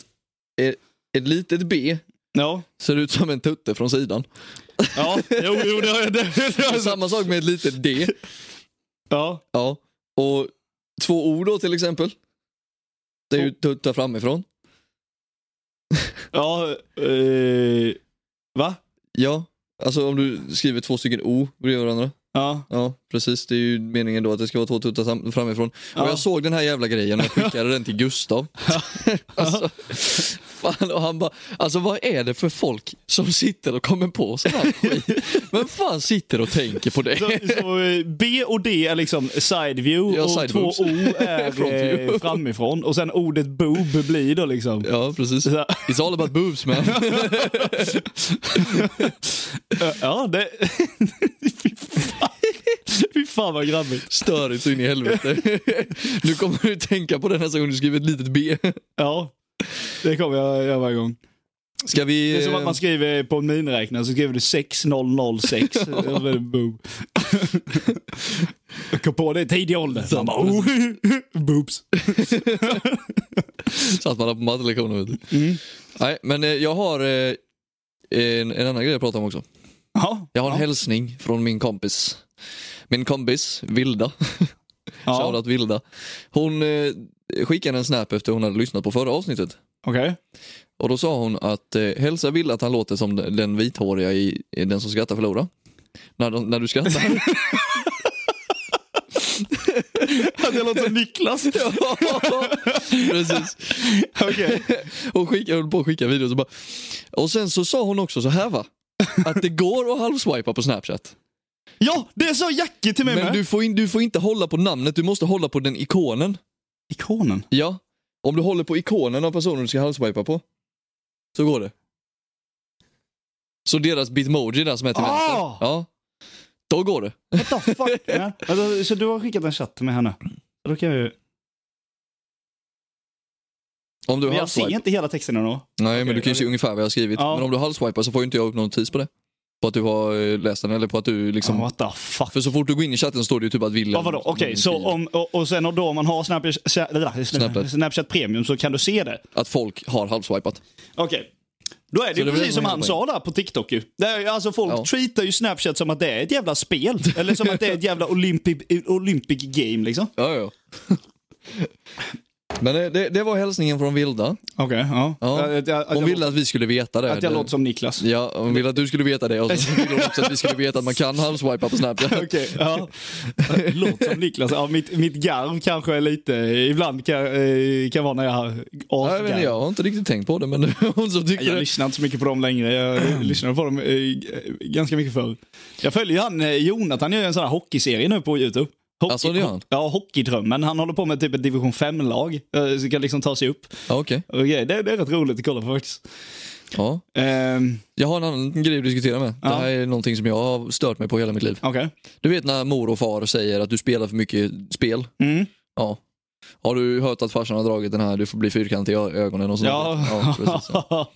Speaker 1: e- ett litet B
Speaker 2: Ja.
Speaker 1: ser ut som en tutte från sidan.
Speaker 2: Ja. Jo, jo, det har jag. Det, det har
Speaker 1: Och
Speaker 2: jag. sett.
Speaker 1: samma sak med ett litet D.
Speaker 2: Ja.
Speaker 1: Ja. Och två O då till exempel. Det är ju tutta framifrån.
Speaker 2: Ja. Eh, va?
Speaker 1: Ja, alltså om du skriver två stycken O bredvid varandra.
Speaker 2: Ja.
Speaker 1: Ja, precis. Det är ju meningen då att det ska vara två tuttar sam- framifrån.
Speaker 2: Ja.
Speaker 1: Och jag såg den här jävla grejen och jag skickade den till Gustav. alltså, fan, och han bara, alltså vad är det för folk som sitter och kommer på sån här skit? Vem fan sitter och tänker på
Speaker 2: Så,
Speaker 1: det?
Speaker 2: så eh, B och D är liksom side view
Speaker 1: Ja,
Speaker 2: och
Speaker 1: side
Speaker 2: två
Speaker 1: boobs.
Speaker 2: O är
Speaker 1: Front
Speaker 2: eh,
Speaker 1: view.
Speaker 2: framifrån och sen ordet boob blir då liksom.
Speaker 1: Ja, precis.
Speaker 2: Så, här,
Speaker 1: It's all about boobs man.
Speaker 2: eh, ja, det... Fy fan. Fy fan vad grabbigt.
Speaker 1: Störigt så in i helvete. nu kommer du tänka på det nästa gång du skriver ett litet B.
Speaker 2: Ja, det kommer jag göra varje gång.
Speaker 1: Ska vi...
Speaker 2: Det är som att man skriver på en miniräknare så skriver du 6006. Då blir det boob. Jag kom på det i tidig ålder. Man bara, oh, boobs.
Speaker 1: Satt man där på mattelektionen vet du.
Speaker 2: Mm.
Speaker 1: Nej, men eh, jag har eh, en, en annan grej jag pratar om också.
Speaker 2: Ja,
Speaker 1: Jag har en
Speaker 2: ja,
Speaker 1: hälsning från min kompis. Min kompis, Vilda.
Speaker 2: ja.
Speaker 1: Shoutout Vilda. Hon eh, skickade en snap efter hon hade lyssnat på förra avsnittet.
Speaker 2: Okej.
Speaker 1: Och då sa hon att eh, hälsa Vilda att han låter som den den vithåriga i, i Den som skrattar förlorar. När, de, när du skrattar.
Speaker 2: Att jag låter som Niklas.
Speaker 1: Precis.
Speaker 2: Okej.
Speaker 1: Hon skickade, höll på att skicka videos och bara... Och sen så sa hon också så här va. Att det går att halvswipa på Snapchat.
Speaker 2: Ja, det sa Jackie till mig
Speaker 1: Men
Speaker 2: med.
Speaker 1: du får, in, du får inte hålla på namnet, du måste hålla på den ikonen.
Speaker 2: Ikonen.
Speaker 1: Ja. Om du håller på ikonen av personen du ska halvswipa på, så går det. Så deras bitmoji där som är till
Speaker 2: Ah!
Speaker 1: vänster, ja, då går det.
Speaker 2: What the fuck? ja. alltså, så du har skickat en chatt till mig här nu? Då kan jag ju...
Speaker 1: Om du
Speaker 2: Men jag ser
Speaker 1: halvswipar.
Speaker 2: inte hela texten ändå.
Speaker 1: Nej, men
Speaker 2: Okej,
Speaker 1: du kan ju se
Speaker 2: okej.
Speaker 1: ungefär vad jag har skrivit.
Speaker 2: Ja.
Speaker 1: Men om du halvswipar så får ju inte jag upp någon notis på det. På att du har eh, läst den eller på att du liksom...
Speaker 2: Som... What the fuck?
Speaker 1: För så fort du går in i chatten så står det ju typ att Wilhelm...
Speaker 2: Ja, vadå? Okej, så om, och, och sen och då om man har Snapchat, Snapchat.
Speaker 1: Snapchat.
Speaker 2: Snapchat Premium så kan du se det.
Speaker 1: Att folk har halvswipat.
Speaker 2: Okej. Då är det,
Speaker 1: Så
Speaker 2: ju
Speaker 1: det är väl det
Speaker 2: precis som
Speaker 1: som
Speaker 2: han
Speaker 1: är
Speaker 2: sa där på TikTok ju. Det är, ju- alltså folk
Speaker 1: Ja.
Speaker 2: treatar ju Snapchat som att det är ett jävla spel. Eller som att det är ett jävla Olympic, Olympic game liksom.
Speaker 1: Ja, ja. men eh, det, det var hälsningen från Vilda.
Speaker 2: Okej, ja.
Speaker 1: Ja.
Speaker 2: Att, jag- att,
Speaker 1: Hon
Speaker 2: jag,
Speaker 1: ville att vi skulle veta det.
Speaker 2: att jag
Speaker 1: Det-
Speaker 2: låter som Niklas.
Speaker 1: Ja, hon ville att du skulle veta det och sen ville hon också att vi skulle veta att man kan halvswipa på Snapchat.
Speaker 2: Okej, ja. Låt som Niklas. Ja, mitt, mitt garv kanske är lite, ibland kan, eh, kan vara när jag har
Speaker 1: Ja, jag, vet inte,
Speaker 2: asgarv.
Speaker 1: jag har inte riktigt tänkt på det men hon som tycker
Speaker 2: Jag
Speaker 1: det.
Speaker 2: lyssnar inte så mycket på dem längre. Jag lyssnade på dem eh, ganska mycket förr. Jag följer ju han, eh, Jonathan gör ju en sån här hockeyserie nu på YouTube. Hockey,
Speaker 1: Alltså, det gör han?
Speaker 2: Ja, Hockeydrömmen. Han håller på med typ ett division 5-lag. eh, Så kan liksom ta sig upp.
Speaker 1: Ja, okej.
Speaker 2: Och grejer. det, det är rätt roligt att kolla på faktiskt.
Speaker 1: Ja.
Speaker 2: Ehm,
Speaker 1: Jag har en annan grej att diskutera med. Det
Speaker 2: Ja.
Speaker 1: här är någonting som jag har stört mig på hela mitt liv.
Speaker 2: Okej.
Speaker 1: Du vet när mor och far säger att du spelar för mycket spel?
Speaker 2: Mm.
Speaker 1: Ja. Har du hört att farsan har dragit den här du får bli fyrkantig i ö- ögonen och sånt?
Speaker 2: Ja.
Speaker 1: ja precis. Ja.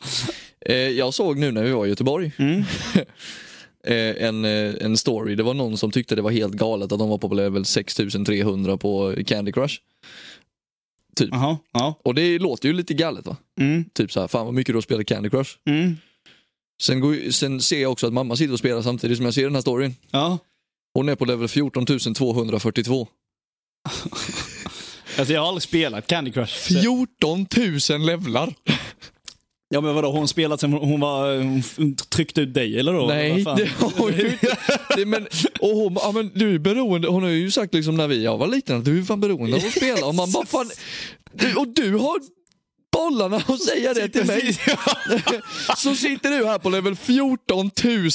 Speaker 1: Eh, jag såg nu när vi var i Göteborg
Speaker 2: Mm.
Speaker 1: eh, en, eh, en story. Det var någon som tyckte det var helt galet att de var på level 6300 på Candy Crush.
Speaker 2: Jaha. Ja.
Speaker 1: Och det låter ju lite galet va?
Speaker 2: Mm.
Speaker 1: Typ så här, fan vad mycket du har spelat Candy Crush.
Speaker 2: Mm.
Speaker 1: Sen, går, ju- sen ser jag också att mamma sitter och spelar samtidigt som jag ser den här storyn.
Speaker 2: Ja.
Speaker 1: Hon är på level 14 242.
Speaker 2: Alltså jag har aldrig spelat Candy Crush. så-
Speaker 1: 14 000 levlar.
Speaker 2: Ja men vadå, har hon spelat sen hon var... Hon f- tryckte ut dig eller då?
Speaker 1: Nej,
Speaker 2: Vad fan?
Speaker 1: det har ju inte. Det, men, och hon, ja, men du är beroende, hon har ju sagt liksom när vi, jag var liten att du är fan beroende av att spela. Och man bara fan, du, och du har bollarna och säga det till mig. Så sitter du här på level 14 000.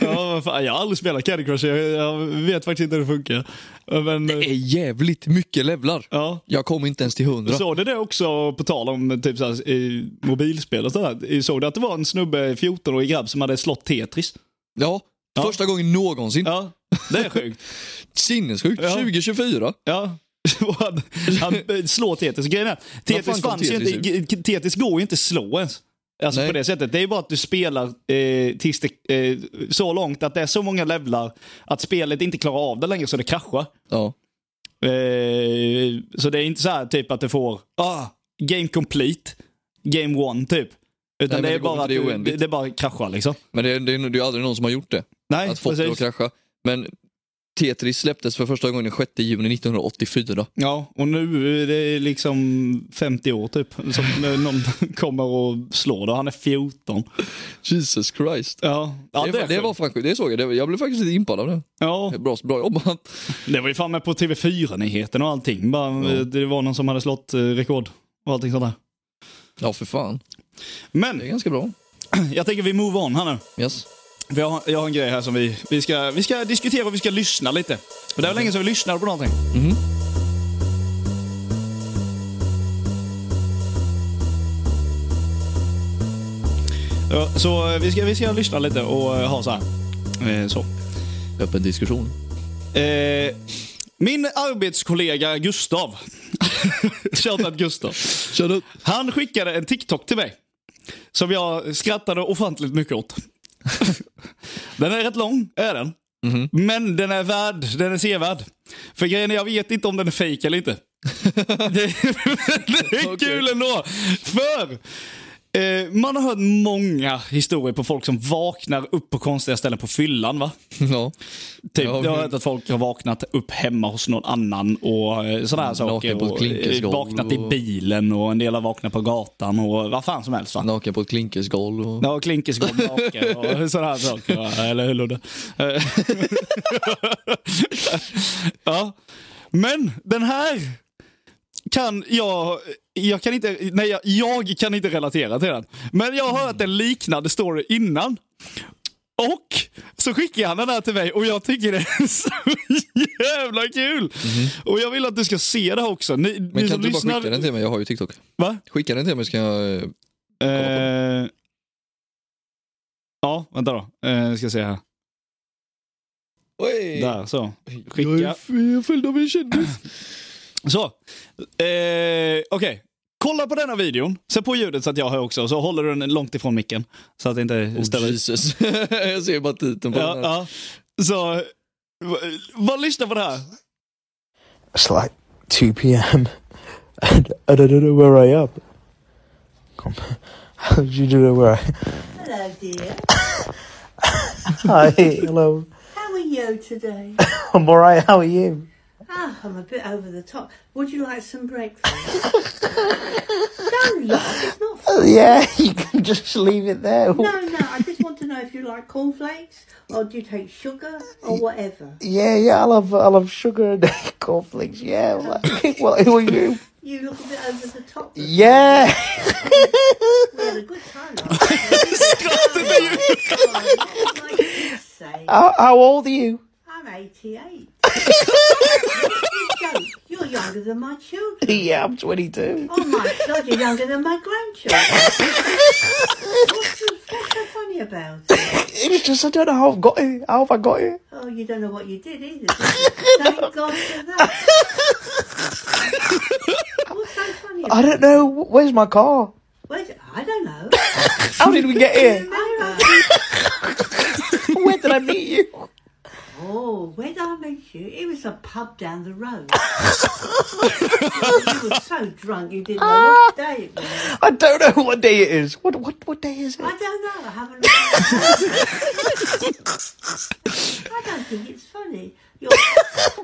Speaker 2: Ja, vad fan, jag har aldrig spelat Candy Crush, jag, jag vet faktiskt inte hur det funkar. Men, eh,
Speaker 1: Det är jävligt mycket levlar.
Speaker 2: ja.
Speaker 1: Jag kom inte ens till 100.
Speaker 2: Såg du det också, på tal om typ så här, i mobilspel och sådär. Såg du att det var en snubbe, 14-årig grabb, som hade slått Tetris?
Speaker 1: Ja,
Speaker 2: Ja.
Speaker 1: första gången någonsin.
Speaker 2: Ja, det är sjukt.
Speaker 1: Sinnessjukt.
Speaker 2: Ja.
Speaker 1: 2024.
Speaker 2: Ja. Och han, han slår Tetris. Grejen är,
Speaker 1: fan
Speaker 2: Tetris
Speaker 1: kom
Speaker 2: fanns ju
Speaker 1: Tetris
Speaker 2: inte. g- Tetris går ju inte att slå ens. Alltså
Speaker 1: Nej.
Speaker 2: på det sättet. Det är bara att du spelar eh, tills det, eh, så långt att det är så många levlar att spelet inte klarar av det längre så det kraschar.
Speaker 1: Ja.
Speaker 2: Eh, så det är inte så här typ att du får ah, game complete, game one typ. Utan
Speaker 1: men
Speaker 2: det,
Speaker 1: det
Speaker 2: är
Speaker 1: går inte,
Speaker 2: bara att
Speaker 1: det är
Speaker 2: du, det,
Speaker 1: oändligt.
Speaker 2: det bara kraschar liksom.
Speaker 1: Men det, det, är- det är ju aldrig någon som har gjort det.
Speaker 2: Nej,
Speaker 1: att fått det att
Speaker 2: precis.
Speaker 1: krascha. Men Tetris släpptes för första gången den 6 juni 1984.
Speaker 2: Ja, och nu är det liksom 50 år typ som någon kommer och slår det. Han är 14.
Speaker 1: Jesus Christ.
Speaker 2: Ja, ja
Speaker 1: det, det,
Speaker 2: sjukt.
Speaker 1: var fan sjukt. det såg jag. Det, jag blev faktiskt lite impad av det.
Speaker 2: Ja,
Speaker 1: Det är Bra, bra jobbat.
Speaker 2: det var ju fan med på TV4-nyheten och allting. Bara,
Speaker 1: Ja.
Speaker 2: Det var någon som hade slått eh, rekord och allting sånt där.
Speaker 1: Ja, för fan. Det är
Speaker 2: Men
Speaker 1: ganska bra.
Speaker 2: jag tänker vi move on här nu.
Speaker 1: Yes.
Speaker 2: Vi har, jag har en grej här som vi, vi, ska, vi ska diskutera och vi ska lyssna lite. För det var länge sedan vi lyssnade på någonting.
Speaker 1: Mhm.
Speaker 2: Ja, så eh, vi ska, vi ska lyssna lite och eh, ha så här. Eh, så.
Speaker 1: Öppen diskussion.
Speaker 2: Eh, min arbetskollega Gustav. Shoutout Gustav.
Speaker 1: Kör du.
Speaker 2: Han skickade en TikTok till mig. Som jag skrattade ofantligt mycket åt. den är rätt lång, är den. Men den är värd, den är sevärd. För grejen är, jag vet inte om den är fejk eller inte. det, är- det är
Speaker 1: Okej.
Speaker 2: kul ändå. För eh, man har hört många historier på folk som vaknar upp på konstiga ställen på fyllan. va?
Speaker 1: Ja. Ja,
Speaker 2: Typ, jag har
Speaker 1: men-
Speaker 2: hört att folk har vaknat upp hemma hos någon annan och eh, sådana här saker.
Speaker 1: på ett
Speaker 2: Och, eh,
Speaker 1: klinkersgolv
Speaker 2: vaknat i
Speaker 1: och-
Speaker 2: bilen och en del har vaknat på gatan och vad fan som helst. Va?
Speaker 1: Naken på ett klinkesgolv. Och...
Speaker 2: Ja, klinkersgolv naken och sådana här saker. va? Eller hur Ludde? Eh, ja. Men den här kan jag... Jag kan inte, nej, jag, jag kan inte relatera till den. Men jag har hört en liknande story innan. Och så skickar han den här till mig och jag tycker det är så jävla kul! Och jag vill att du ska se det här också. Ni, ni
Speaker 1: Mhm. Men kan
Speaker 2: som
Speaker 1: du bara
Speaker 2: lyssnar,
Speaker 1: skicka den till mig? Jag har ju TikTok.
Speaker 2: Va?
Speaker 1: Skicka den till mig ska jag... eh,
Speaker 2: Eh, ja, vänta då. Eh, ska se här.
Speaker 1: Oj!
Speaker 2: Där, så.
Speaker 1: Jag är
Speaker 2: Skicka.
Speaker 1: f- jag är följd av en kändis.
Speaker 2: Så. Eh, Okej. Kolla på denna videon. Sätt på ljudet så att jag hör också. Så håller du den långt ifrån micken. Så att det inte
Speaker 1: Oh,
Speaker 2: ställer ut.
Speaker 1: Jesus. jag ser bara titeln på
Speaker 2: Ja,
Speaker 1: den här.
Speaker 2: ja. Så, eh, va- bara lyssna på det här.
Speaker 3: It's like 2 p.m. and I don't know where I am. Come, how do you know where I
Speaker 4: Hello, dear.
Speaker 3: Hi, hello.
Speaker 4: How are you today?
Speaker 3: I'm alright, how are you?
Speaker 4: Ah, I'm a bit over the top. Would you like some breakfast? Don't laugh. It's not funny.
Speaker 3: Uh, Yeah, you can just leave it there.
Speaker 4: No, no. I just want to know if you like cornflakes or do you take sugar or whatever.
Speaker 3: Yeah, yeah, I love I love sugar and cornflakes. Yeah, like, well, who are you?
Speaker 4: You look a bit over the top.
Speaker 3: Yeah,
Speaker 4: We had a good time. last Oh, night. Like you say,
Speaker 3: how, how old are you?
Speaker 4: I'm 88. You joke. You're younger than my children.
Speaker 3: Yeah, I'm 22.
Speaker 4: Oh my god, you're younger than my grandchildren. what's, so- what's so funny about it?
Speaker 3: It's just I don't know how I've got here. How have I got here?
Speaker 4: Oh, you don't know what you did either. do you? Thank God for that. what's so funny
Speaker 3: I
Speaker 4: about
Speaker 3: don't know. Where's my car?
Speaker 4: Wait, I don't know.
Speaker 3: How did we get here?
Speaker 4: Remember-
Speaker 3: Where did I meet you?
Speaker 4: Oh, where did I meet you? It was a pub down the road. you were so drunk you didn't know what
Speaker 3: Ah.
Speaker 4: day it was.
Speaker 3: I don't know what day it is. What what what day is it?
Speaker 4: I don't know. I haven't. I don't think it's funny. Your, I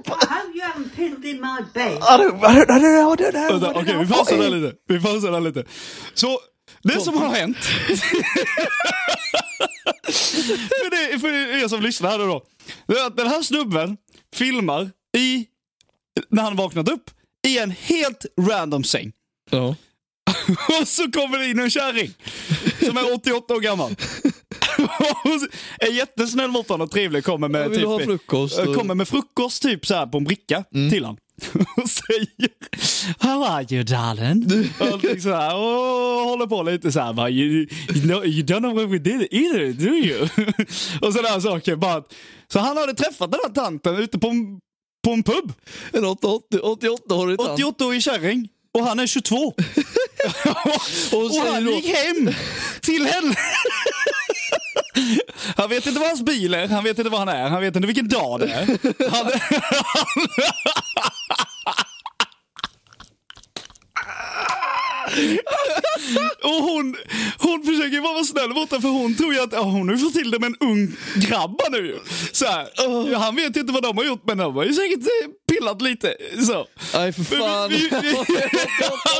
Speaker 4: hope you haven't pilled in my bed.
Speaker 3: I don't, I don't, I don't know, I don't know.
Speaker 2: Vänta,
Speaker 3: I don't
Speaker 2: Okej,
Speaker 3: know.
Speaker 2: vi pausar där lite. Vi pausar där lite. Så, det som har hänt. för, det, för er som lyssnar här nu då. Det är att den här snubben filmar i, när han vaknat upp, i en helt random säng.
Speaker 1: Ja.
Speaker 2: Och så kommer det in en kärring som är 88 år gammal. Och så är jättesnäll mot honom och trevlig. Kommer med,
Speaker 1: Jag vill
Speaker 2: typ,
Speaker 1: ha frukost.
Speaker 2: eh,
Speaker 1: och- Mm.
Speaker 2: kommer med frukost typ så här på en bricka till han. Och säger How are you darling? Och allting så här, och håller på lite så här. Bara, you, you, know, you don't know what we did either, do you? och sådana saker. Bara, att- så han hade träffat den här tanten ute på en, på en pub.
Speaker 1: En 88 88-årig tant.
Speaker 2: 88-årig kärring. Och han är 22.
Speaker 1: Och
Speaker 2: Och
Speaker 1: säger
Speaker 2: han
Speaker 1: då-
Speaker 2: gick hem till henne. Han vet inte vad hans bil är, han vet inte vad han är, han vet inte vilken dag det är. Han, Och hon, hon försöker bara vara snäll mot honom för hon tror ju att ja, hon har ju fått till det med en ung grabb här nu ju. så här, ja, Han vet ju inte vad de har gjort men de har ju säkert eh, pillat lite. Så.
Speaker 1: Nej för fan.
Speaker 2: Vi, vi, vi,
Speaker 1: 88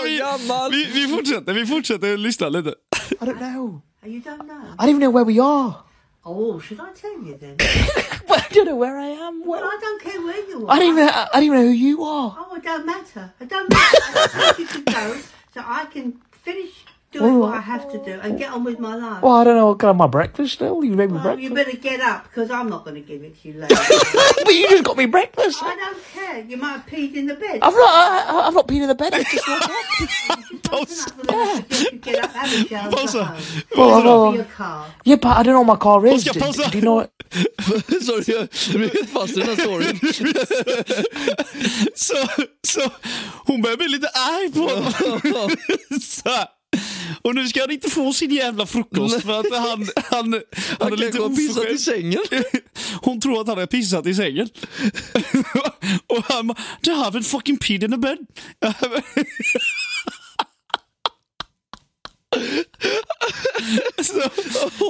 Speaker 1: år gammal.
Speaker 2: vi, vi fortsätter, vi fortsätter lyssna lite.
Speaker 3: I don't know.
Speaker 4: Oh, you don't know.
Speaker 3: I don't even know where we are.
Speaker 4: Oh, should I tell you then?
Speaker 3: I don't know where I am. Where...
Speaker 4: I don't care where you are.
Speaker 3: I don't even, I don't even know who you are.
Speaker 4: Oh, it don't matter. It don't matter. I just want you to go so I can finish doing what I have to do and get on with my life.
Speaker 3: Well, I don't know what kind of my breakfast still. You made me
Speaker 4: Well,
Speaker 3: breakfast.
Speaker 4: you better get up because I'm not going to give it to you later.
Speaker 3: but you just got me breakfast.
Speaker 4: I don't care. You might have peed in the bed.
Speaker 3: I've not, I, I- I've not been in the bed. I've just woke up.
Speaker 4: Just open up and you get up, have a shower,
Speaker 2: Pausa.
Speaker 4: go home.
Speaker 3: Well,
Speaker 4: Be
Speaker 3: well,
Speaker 4: your car.
Speaker 3: yeah, but I don't know what my car is.
Speaker 2: Oscar,
Speaker 3: Do-
Speaker 2: pause
Speaker 3: do-
Speaker 2: that.
Speaker 3: do you know what?
Speaker 1: Sorry, jag blev helt fast i den här storyn.
Speaker 2: Så, så hon börjar bli lite arg på honom. så här. Och nu ska han inte få sin jävla frukost för att han, han, han är
Speaker 1: Han
Speaker 2: lite
Speaker 1: kanske har pissat i
Speaker 2: oförskämd.
Speaker 1: sängen.
Speaker 2: Hon tror att han har pissat i sängen. Och han bara, I haven't fucking peed in the bed. så,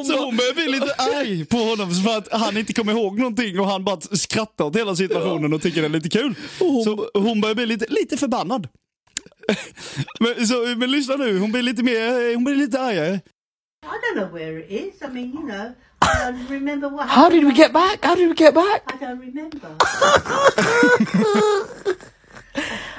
Speaker 2: så hon börjar bli lite arg på honom för att han inte kommer ihåg någonting och han bara skrattar åt hela situationen och tycker det är lite kul. Så hon börjar bli lite, lite förbannad. Men, så, men lyssna nu, hon blir lite mer, hon blir lite argare.
Speaker 4: I don't know where it is. I mean, you know, I don't remember what
Speaker 3: How
Speaker 4: happened.
Speaker 3: did we get back? How did we get back?
Speaker 4: I don't remember.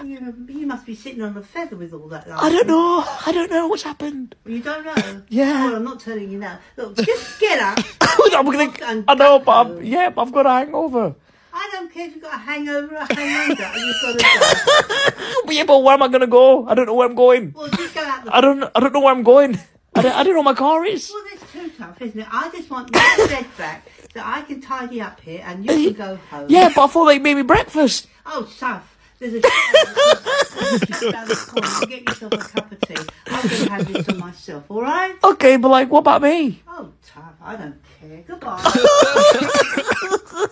Speaker 4: you, know, you must be sitting on a feather with all that.
Speaker 3: I don't know. I don't know what's happened.
Speaker 4: You don't know?
Speaker 3: Yeah.
Speaker 4: Well, I'm not telling you now. Look, just get up.
Speaker 3: I'm gonna,
Speaker 4: Fucking
Speaker 3: I know, but I'm,
Speaker 4: backhand.
Speaker 3: yeah, but I've got a hangover.
Speaker 4: I don't care if you've got a hangover or a hangover. You've got to go.
Speaker 3: But yeah, but where am I gonna go? I don't know where I'm going.
Speaker 4: Well, just go out the
Speaker 3: I don't, I don't know where I'm going. I don't, I don't know where my car is.
Speaker 4: Well, that's too tough, isn't it? I just want your bed back so I can tidy up here and you can go home.
Speaker 3: Yeah, but I thought they made me breakfast.
Speaker 4: Oh, stuff. There's a just down the corner. Get yourself a cup of tea. I'm going to have this to myself, all right?
Speaker 3: Okay, but like, what about me?
Speaker 4: Oh, tough. I don't care. Goodbye.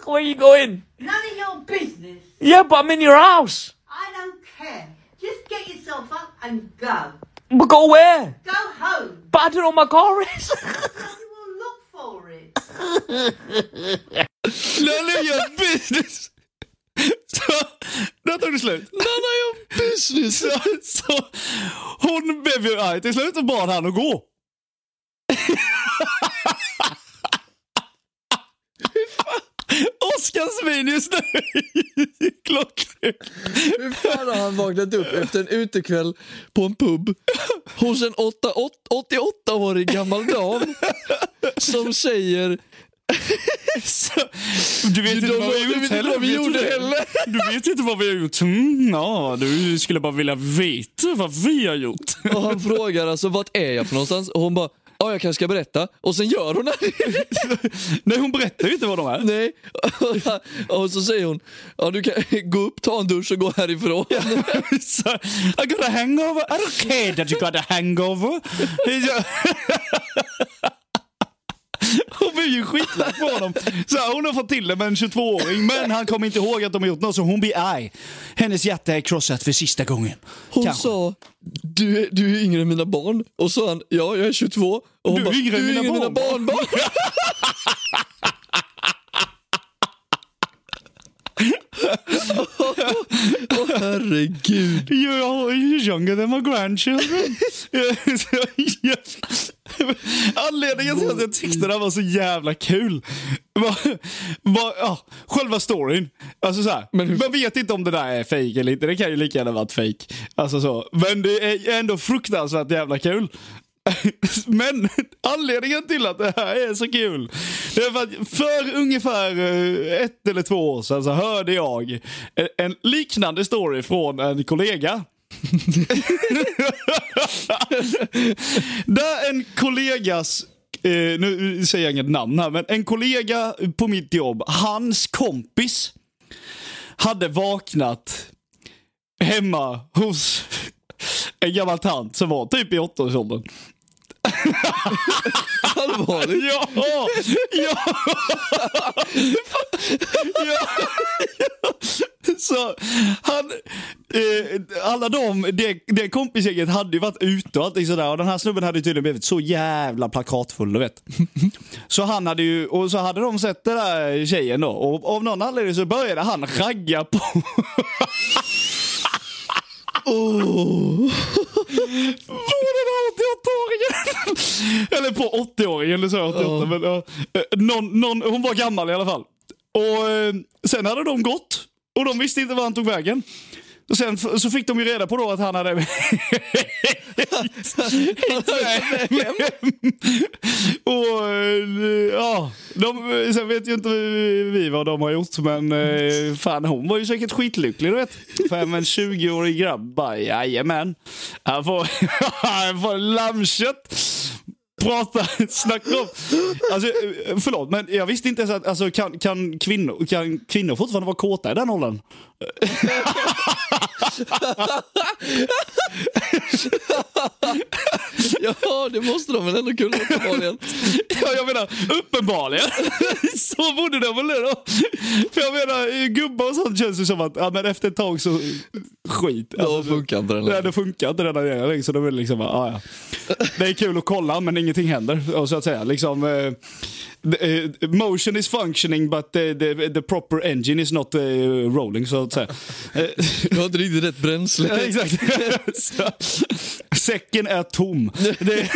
Speaker 3: Where are you going?
Speaker 4: None of your business.
Speaker 3: Yeah, but I'm in your house.
Speaker 4: I don't care. Just get yourself up and go.
Speaker 3: But go where?
Speaker 4: Go home.
Speaker 3: But I don't know where my car is.
Speaker 4: You will look for it.
Speaker 2: None of your business. Så, där tog det slut. None of your business. Så, så, hon blev ju arg till slut och bad han att gå. Oskars min just nu. Klockren.
Speaker 1: Hur fan har han vaknat upp efter en utekväll på en pub hos en åtta- åt- 88-årig gammal dam som säger
Speaker 2: Så, Du vet
Speaker 1: You
Speaker 2: inte
Speaker 1: don't
Speaker 2: vad vi
Speaker 1: know-
Speaker 2: har
Speaker 1: du
Speaker 2: gjort
Speaker 1: vet inte vad vi
Speaker 2: vet du
Speaker 1: gjorde
Speaker 2: det?
Speaker 1: heller.
Speaker 2: Du vet inte vad vi har gjort. Mm, ja, du skulle bara vilja veta vad vi har gjort.
Speaker 1: och han frågar alltså vart är jag för någonstans och hon bara ja jag kanske ska berätta och sen gör hon det.
Speaker 2: Nej, hon berättar ju inte vad de är.
Speaker 1: Nej. Och så säger hon ja du kan gå upp, ta en dusch och gå härifrån.
Speaker 2: so I got a hangover. I don't care that you got a hangover. It's a- Hon blir ju skitlack på honom. Så här, hon har fått till det med en 22-åring, men han kommer inte ihåg att de har gjort något, så hon blir arg. Hennes hjärta är krossat för sista gången.
Speaker 1: Hon
Speaker 2: Kanske.
Speaker 1: sa du är, du är yngre än mina barn och så sa han ja jag är 22 och hon
Speaker 2: Du är
Speaker 1: bara
Speaker 2: yngre än
Speaker 1: du är
Speaker 2: mina
Speaker 1: yngre än mina
Speaker 2: barnbarn."
Speaker 1: barnbarn. herregud.
Speaker 2: You're, you're younger than my grandchildren. Anledningen till att jag tyckte det här var så jävla kul var, var ja, själva storyn. Alltså så här, Man vet inte om det där är fake eller inte. Det kan ju lika gärna varit fake. Alltså så. Men det är ändå fruktansvärt jävla kul. Men anledningen till att det här är så kul, det är för att för ungefär eh, ett eller två år sedan så hörde jag en- en liknande story från en kollega. Där en kollegas, eh, nu säger jag inget namn här, men en kollega på mitt jobb, hans kompis hade vaknat hemma hos en gammal tant som var typ i åttaårsåldern.
Speaker 1: Allvarligt.
Speaker 2: Ja! Ja! ja. Så han, eh, alla de, det, det kompisgänget hade ju varit ute och allting sådär. Och den här snubben hade ju tydligen blivit så jävla plakatfull, du vet. Så han hade ju, och så hade de sett den där tjejen då. Och av någon anledning så började han ragga på på den här 88-åringen. Eller på 80-åringen, nu sa jag 88. Men, ja. Eh, någon, någon, hon var gammal i alla fall. Och eh, Sen hade de gått och de visste inte var han tog vägen. Och sen f- så fick de ju reda på då att han hade och eh, ja, de, sen vet ju inte vi vi vad de har gjort men eh, fan hon var ju säkert skitlycklig du vet. För en 20-årig grabb bara jajamän. Han får, han får lammkött. Prata, snacka om. Alltså, eh, förlåt, men jag visste inte ens att alltså, kan, kan, kvinnor, kan kvinnor fortfarande vara kåta i den åldern?
Speaker 1: Ja, det måste de väl ändå kunna uppenbarligen.
Speaker 2: Ja, jag menar, uppenbarligen. så borde det väl då. För jag menar, gubbar och sånt känns ju som att ja, men efter ett tag så skit.
Speaker 1: Då funkar inte den
Speaker 2: Nej,
Speaker 1: längre.
Speaker 2: det funkar inte den där grejen. Så de är det liksom, bara, ah, ja. Det är kul att kolla men ingenting händer. Och så att säga, liksom, eh, the, eh, motion is functioning but the, the, the proper engine is not eh, rolling så att säga. Eh,
Speaker 1: Du har inte riktigt rätt
Speaker 2: Ja,
Speaker 1: bränsle.
Speaker 2: exakt. Så, säcken är tom. Det...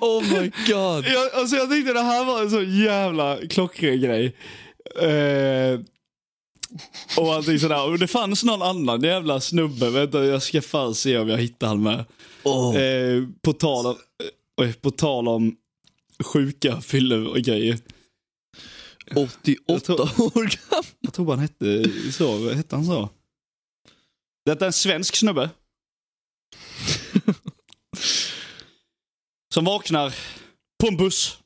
Speaker 1: Oh my god.
Speaker 2: Jag, alltså jag tyckte det här var en så jävla klockren grej. Eh, och allting sådär. Och det fanns någon annan jävla snubbe. Vänta, jag ska fan se om jag hittar han med.
Speaker 1: Åh.
Speaker 2: Eh, på, tal om, eh, på tal om sjuka fyllor och grejer.
Speaker 1: 88 år gammal.
Speaker 2: Jag tror han hette så. Vad Hette han så? Detta är en svensk snubbe. Som vaknar på en buss.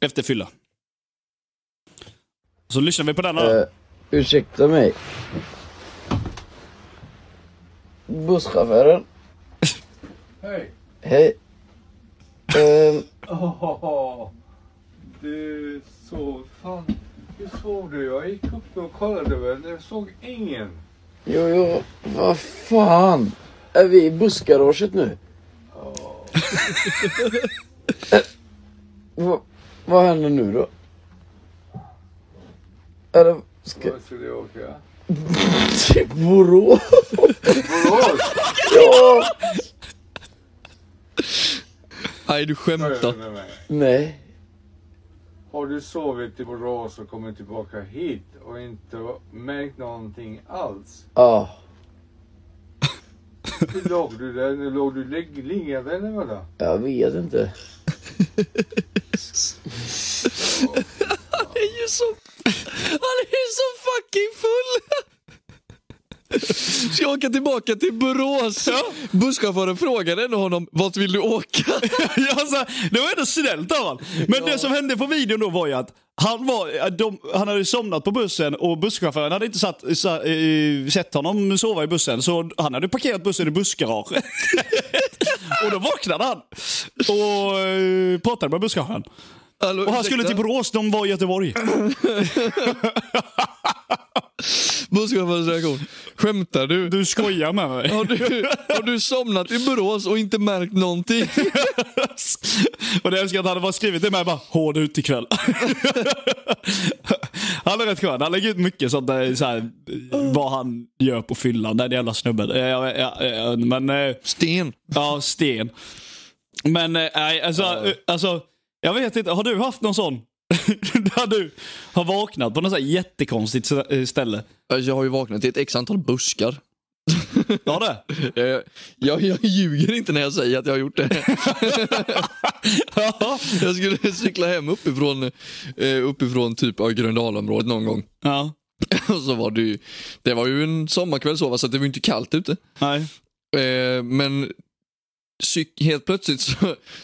Speaker 2: Efter fylla. Så lyssnar vi på den här.
Speaker 5: Eh, ursäkta mig. Busschauffören.
Speaker 6: Hej!
Speaker 5: Hej. Ehm,
Speaker 6: Åh, du sov. Fan, hur sov du? Jag gick upp och kollade men jag såg ingen.
Speaker 5: jo, jo. Vad fan. Är vi i bussgaraget nu? Eh, vad- vad händer nu då? Eller ska...
Speaker 6: Vart skulle du åka?
Speaker 5: Till Borås?
Speaker 6: Borås!
Speaker 5: Ja!
Speaker 1: Nej, du
Speaker 6: Hör
Speaker 1: skämtar.
Speaker 6: du med mig?
Speaker 5: Nej.
Speaker 6: Har du sovit i Borås och kommit tillbaka hit och inte märkt någonting alls?
Speaker 5: Ja.
Speaker 6: Hur låg du där? Nu låg du ligg- liggande eller vadå?
Speaker 5: Jag vet inte.
Speaker 1: Han är ju så... Han är ju så fucking full! Ska jag åka tillbaka till Borås? Busschauffören frågade ändå honom, vart vill du åka?
Speaker 2: Ja, alltså, det var ändå snällt av han. Men det som hände på videon då var ju att han, var, eh, de, han hade somnat på bussen och busschauffören hade inte satt, sa, eh, sett honom sova i bussen så han hade parkerat bussen i bussgaraget. och då vaknade han och eh, pratade med busschauffören.
Speaker 1: Hallå,
Speaker 2: Och han skulle
Speaker 1: ursäkta?
Speaker 2: till Borås, de var i Göteborg.
Speaker 1: Busschaufförens reaktion. Skämtar du?
Speaker 2: Du skojar med mig.
Speaker 1: Har du, har du somnat i Borås och inte märkt någonting?
Speaker 2: Och det älskar att han bara skrivit det med bara hård ut ikväll. han är rätt skön. Han lägger ut mycket sånt där, så här, vad han gör på fyllan. Den jävla snubben. Eh, ja, ja, ja, Men, eh,
Speaker 1: Sten.
Speaker 2: ja, sten. Men eh, nej, alltså, eh, alltså, jag vet inte. Har du haft någon sån? där du har vaknat på något så här jättekonstigt s- eh, ställe.
Speaker 1: Alltså, Jag har ju vaknat i ett x antal buskar.
Speaker 2: Ja det?
Speaker 1: Jag, Eh, jag, jag ljuger inte när jag säger att jag har gjort det.
Speaker 2: Ja.
Speaker 1: Jag skulle cykla hem uppifrån, eh, uppifrån typ av Gröndalområdet någon gång.
Speaker 2: ja.
Speaker 1: Och så var det ju, det var ju en sommarkväll så, va, så att det var ju inte kallt ute.
Speaker 2: Nej.
Speaker 1: Eh, men cyk- helt plötsligt så,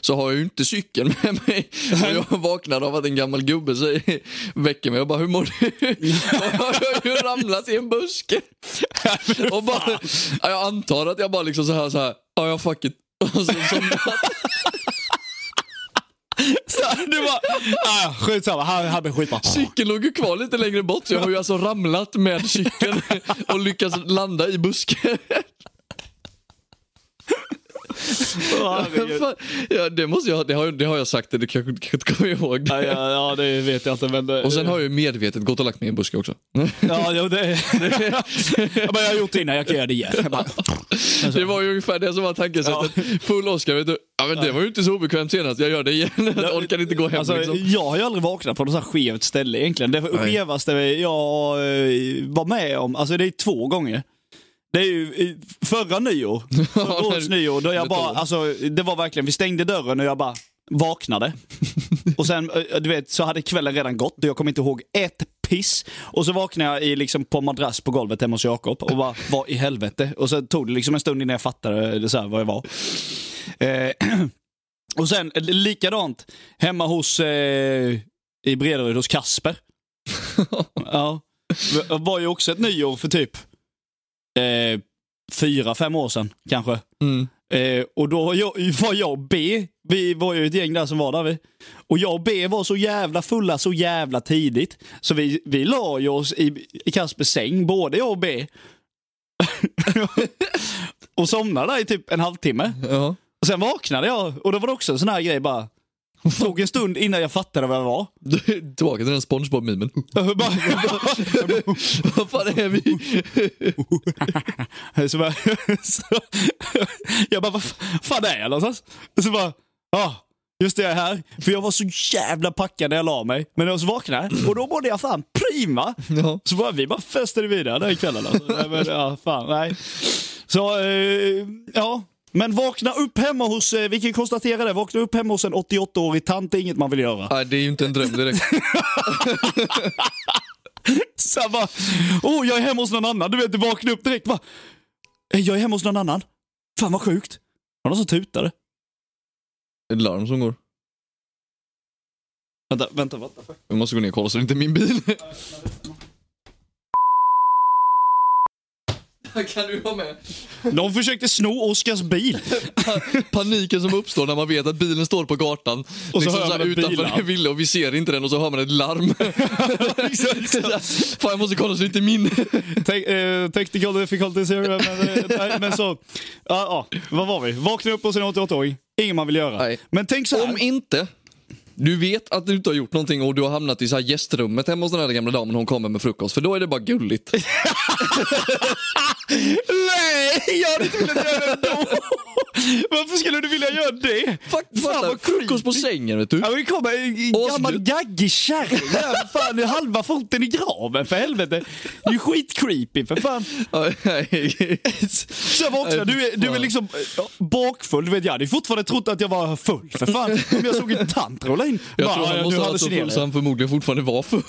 Speaker 1: så har jag ju inte cykeln med mig. Och jag vaknar av att en gammal gubbe säger, väcker mig och bara “Hur mår du?” Och jag har ju ramlat i en buske. och bara, ja, jag antar att jag bara liksom så här, så här “Ja, jag fuck it”. Och så somnat.
Speaker 2: Så, du bara, ah, skitsamma. Han hade skitbra.
Speaker 1: Cykeln låg ju kvar lite längre bort så jag har ju alltså ramlat med cykeln och lyckats landa i busken. Fan, ja, det, måste jag, det, har, det har jag sagt, det kanske du kanske inte kommer ihåg.
Speaker 2: Ja, ja, ja, det vet jag inte. Men det,
Speaker 1: Och sen har jag ju medvetet gått och lagt mig i en buske också.
Speaker 2: Ja, jo, det... jag, bara, jag har gjort det innan, jag kan göra det igen. Jag bara, alltså.
Speaker 1: Det var ju ungefär det som var tankesättet. Full Oscar, vet du. Ja, men det var ju inte så obekvämt senast, jag gör det igen. Jag orkar inte gå hem
Speaker 2: alltså,
Speaker 1: liksom.
Speaker 2: Jag har ju aldrig vaknat på något så här skevt ställe egentligen. Det skevaste jag eh, var med om, alltså det är två gånger. Det är ju i förra nyår, förra
Speaker 1: Ja,
Speaker 2: årets
Speaker 1: när-
Speaker 2: nyår, då jag
Speaker 1: när
Speaker 2: bara,
Speaker 1: tog.
Speaker 2: alltså det var verkligen, vi stängde dörren och jag bara vaknade. Och sen, eh, du vet, så hade kvällen redan gått och jag kom inte ihåg ett piss. Och så vaknade jag i, liksom, på madrass på golvet hemma hos Jakob och bara, vad i helvete? Och sen tog det liksom en stund innan jag fattade det, så här, vad jag var. Eh, och sen eh, likadant hemma hos, eh, i Bredaryd hos Kasper. ja. Det var ju också ett nyår för typ eh, fyra, fem år sedan kanske.
Speaker 1: Mm.
Speaker 2: Eh, och då var jag, var jag och B, vi var ju ett gäng där som var där vi. Och jag och B var så jävla fulla så jävla tidigt. Så vi, vi la ju oss i, i Kaspers säng, både jag och B. och somnade där i typ en halvtimme.
Speaker 1: Ja.
Speaker 2: Och sen vaknade jag och då var det också en sån här grej bara. Tog en stund innan jag fattade vad jag var.
Speaker 1: Tillbaka till den Spongebob-mimen.
Speaker 2: Jag bara-
Speaker 1: Vad fan är vi?
Speaker 2: Så bara, så, jag bara, vad fa- fan är jag någonstans? Och så bara, ja, ah, just det jag är här. För jag var så jävla packad när jag la mig. Men jag så vaknade jag, och då mådde jag fan prima.
Speaker 1: Ja.
Speaker 2: Så bara, vi bara festade vidare den kvällen. Alltså. Nej, men, ja, fan, nej. Så, eh, ja. Men vakna upp hemma hos, eh, vi kan ju konstatera det, vakna upp hemma hos en 88-årig tant är inget man vill göra.
Speaker 1: Nej, det är ju inte en dröm direkt.
Speaker 2: Så jag bara, oh jag är hemma hos någon annan. Du vet, du vaknar upp direkt bara, "Eh, jag är hemma hos någon annan. Fan vad sjukt. Var det någon som tutade?
Speaker 1: Ett larm som går.
Speaker 2: Vänta, vänta, vänta.
Speaker 1: Jag måste gå ner och kolla så det inte är min bil. Kan du vara med?
Speaker 2: Någon försökte sno Oskars bil.
Speaker 1: Paniken som uppstår när man vet att bilen står på gatan.
Speaker 2: så
Speaker 1: liksom
Speaker 2: hör
Speaker 1: så här
Speaker 2: man en
Speaker 1: utanför
Speaker 2: billarm.
Speaker 1: en villa och vi ser inte den och så hör man ett larm. Fan jag måste kolla så det inte är min.
Speaker 2: Te- eh, technical difficulties here. Men, eh, nej, men så, ja, ja, vad var vi? Vakna upp hos en 88-åring. Inget man vill göra.
Speaker 1: Nej.
Speaker 2: Men tänk så här.
Speaker 1: Om inte du vet att du inte har gjort någonting och du har hamnat i så här gästrummet hemma hos den här gamla damen hon kommer med frukost. För då är det bara gulligt.
Speaker 2: Nej, jag hade inte velat göra det ändå. Varför skulle du vilja göra det?
Speaker 1: Fuck, fatta,
Speaker 2: vad
Speaker 1: frukost på
Speaker 2: creepy.
Speaker 1: sängen vet du.
Speaker 2: Ja, men det kommer en en
Speaker 1: Och
Speaker 2: gammal
Speaker 1: slut.
Speaker 2: gaggig kärring. där. Fan, det är halva foten i graven för helvete. Det är ju skitcreepy för fan.
Speaker 1: Ja, nej.
Speaker 2: Så jag vaknar, du är, du är liksom eh, bakfull. Du vet, jag hade ju fortfarande trott att jag var full för fan. Men jag såg en tant rulla in.
Speaker 1: Jag
Speaker 2: Bara,
Speaker 1: tror han
Speaker 2: "Ja,
Speaker 1: måste
Speaker 2: du
Speaker 1: ha varit så full
Speaker 2: hallucinerar."
Speaker 1: så han förmodligen fortfarande var full.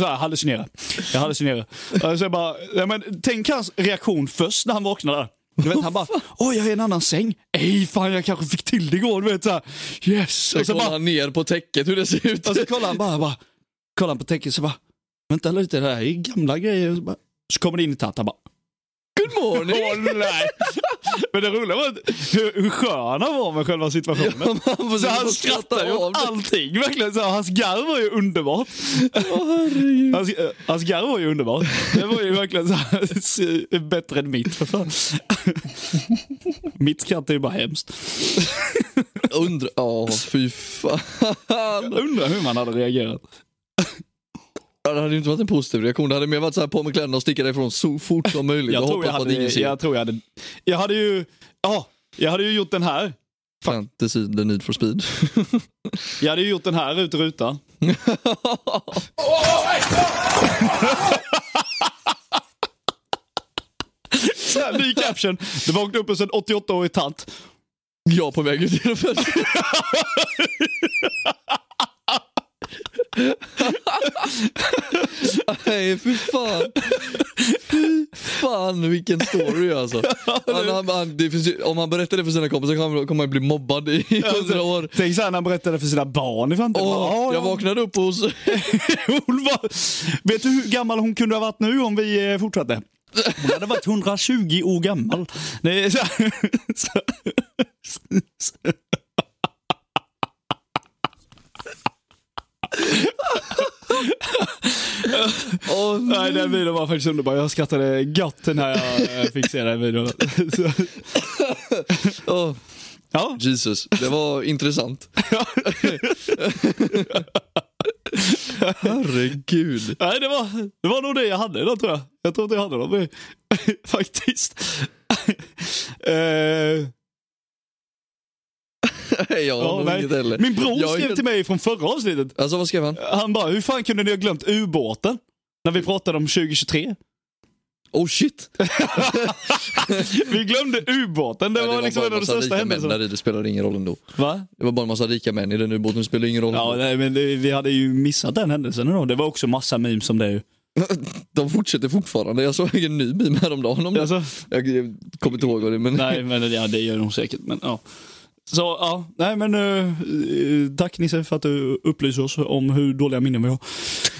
Speaker 2: så här, hallucinera. Jag hallucinerar. Eh, Så jag bara, ja, men, tänk hans reaktion först när han vaknar där. Du vet, han bara, oj jag är i en annan säng. Ej fan jag kanske fick till det igår. Du vet såhär, yes.
Speaker 1: Så
Speaker 2: Och så
Speaker 1: kollar
Speaker 2: bara,
Speaker 1: han ner på täcket hur det ser ut.
Speaker 2: och så kollar han bara, bara kollar han på täcket så bara, vänta lite det här är gamla grejer. Och Så, bara, så kommer det in i tant, han bara,
Speaker 1: Good morning!
Speaker 2: åh nej. Men det roliga var att hur, hur skön han var med själva situationen.
Speaker 1: man får
Speaker 2: så
Speaker 1: sitta
Speaker 2: han
Speaker 1: och skratta
Speaker 2: skrattade ju
Speaker 1: av
Speaker 2: åt
Speaker 1: det.
Speaker 2: allting. Verkligen, så hans garv var ju underbart. Hans, eh, hans garv var ju underbart. Det var ju verkligen så här, eh, bättre än mitt för fan. Mitt skratt är ju bara hemskt.
Speaker 1: Undrar... Ja, fy fan.
Speaker 2: Jag undrar hur man hade reagerat.
Speaker 1: Ja, Det hade ju inte varit en positiv reaktion. Det hade mer varit så här på med kläderna och sticka därifrån så fort som möjligt
Speaker 2: Jag
Speaker 1: och
Speaker 2: tror jag,
Speaker 1: hoppas på att
Speaker 2: hade,
Speaker 1: ingen ser.
Speaker 2: jag tror jag hade... Jag hade ju... Ja, jag hade ju gjort den här.
Speaker 1: Fantasy, the need for speed.
Speaker 2: Jag hade ju gjort den här ut i rutan. Så här, ny caption. Det vaknade upp en sån 88-årig tant.
Speaker 1: jag på väg ut genom fönstret. Nej, fy fan. Fy fan vilken story alltså. Han, han, han, det finns ju, om han berättar det för sina kompisar kommer han- kommer han bli mobbad i hundra år.
Speaker 2: Tänk så här när han berättade för sina barn i framtiden. Bara,
Speaker 1: Åh,
Speaker 2: "Ja,
Speaker 1: jag
Speaker 2: ja."
Speaker 1: vaknade upp hos...
Speaker 2: hon var... Vet du hur gammal hon kunde ha varit nu om vi eh, fortsatte? Hon hade varit 120 år gammal. Det är så här- så här-
Speaker 1: Åh,
Speaker 2: Nej, den videon var faktiskt underbar. Jag skrattade gott när jag eh, fick se den videon. Så,
Speaker 1: åh.
Speaker 2: ja,
Speaker 1: Jesus, det var intressant. Herregud.
Speaker 2: Nej, det var, det var nog det jag hade då tror jag. Jag tror inte jag hade något mer. Faktiskt. Eh,
Speaker 1: Nej, jag har
Speaker 2: ja,
Speaker 1: nog
Speaker 2: nej.
Speaker 1: inget heller.
Speaker 2: Min bror
Speaker 1: Jag är
Speaker 2: skrev
Speaker 1: helt-
Speaker 2: till mig från förra avsnittet.
Speaker 1: Alltså vad skrev han?
Speaker 2: Han bara, hur fan kunde ni ha glömt ubåten? När vi pratade om 2023.
Speaker 1: Oh shit!
Speaker 2: Vi glömde ubåten. Det,
Speaker 1: Nej,
Speaker 2: var liksom
Speaker 1: bara
Speaker 2: en av de
Speaker 1: massa
Speaker 2: största
Speaker 1: rika män
Speaker 2: händelserna.
Speaker 1: där i, det spelar ingen roll ändå.
Speaker 2: Va?
Speaker 1: Det var bara en massa rika män i den ubåten, det spelar ingen roll.
Speaker 2: Ja, nej, men det, vi hade ju missat den händelsen då. Det var också massa memes om det. ju.
Speaker 1: De fortsätter fortfarande, jag såg en ny meme häromdagen om det.
Speaker 2: Alltså,
Speaker 1: Jag jag kommer inte ihåg vad det men...
Speaker 2: nej, men ja, det gör de säkert. Men, ja. Så ja, nej men eh, eh, tack Nisse för att du upplyser oss om hur dåliga minnen vi har.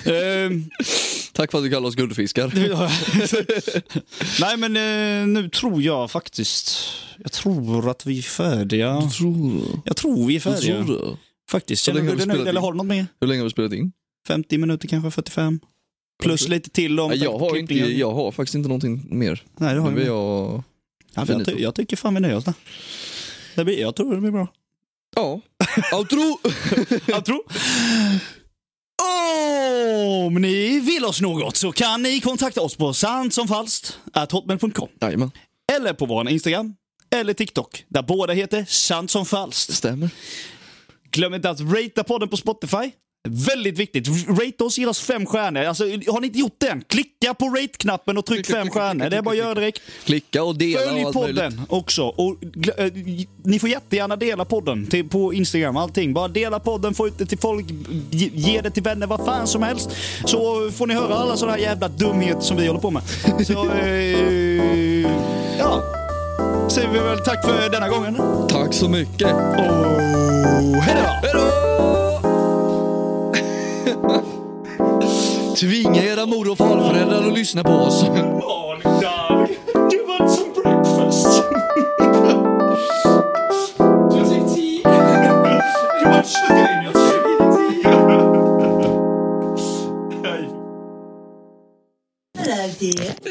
Speaker 2: Eh,
Speaker 1: Tack för att du kallar oss guldfiskar.
Speaker 2: Ja, Nej men eh, nu tror jag faktiskt, jag tror att vi är färdiga.
Speaker 1: tror
Speaker 2: Jag tror vi är
Speaker 1: jag
Speaker 2: färdiga.
Speaker 1: tror det.
Speaker 2: Faktiskt.
Speaker 1: Så
Speaker 2: Känner
Speaker 1: länge
Speaker 2: du
Speaker 1: har
Speaker 2: dig
Speaker 1: vi
Speaker 2: nöjd
Speaker 1: spelat
Speaker 2: eller
Speaker 1: in.
Speaker 2: har du något mer?
Speaker 1: Hur länge har vi spelat in?
Speaker 2: 50 minuter kanske, 45. Plus
Speaker 1: Kanske.
Speaker 2: lite till om
Speaker 1: Nej, jag, har inte,
Speaker 2: klippningen.
Speaker 1: jag har faktiskt inte någonting mer.
Speaker 2: Nej, det har
Speaker 1: Nu är
Speaker 2: jag. Jag,
Speaker 1: jag...
Speaker 2: ja, men jag, ty- jag tycker fan vi nöjer oss där. Det blir, jag tror det blir bra.
Speaker 1: Ja. Outro!
Speaker 2: Jag tror. Om ni vill oss något så kan ni kontakta oss på sannsomfalskt.hotmail.com
Speaker 1: Jajamän,
Speaker 2: eller på vår Instagram eller TikTok där båda heter Sant som falskt.
Speaker 1: det stämmer.
Speaker 2: Glöm inte att ratea podden på Spotify. Väldigt viktigt. Rate oss, ge oss fem stjärnor. Alltså, har ni inte gjort det än, klicka på rate-knappen och tryck
Speaker 1: Klicka,
Speaker 2: fem
Speaker 1: klicka, klicka,
Speaker 2: stjärnor. Det är bara att göra direkt.
Speaker 1: Klicka och dela
Speaker 2: Följ
Speaker 1: och allt möjligt.
Speaker 2: podden också. Och glö- eh, j- ni får jättegärna dela podden till, på Instagram. Allting. Bara dela podden, få ut det till folk, ge, ge det till vänner, vad fan som helst. Så får ni höra alla sådana här jävla dumheter som vi håller på med. Så, eh, ja. Säger vi väl tack för denna gången.
Speaker 1: Tack så mycket. Oh,
Speaker 2: Och hej då!
Speaker 1: Tvinga era mor och farföräldrar att lyssna på oss.
Speaker 4: Hello, dear.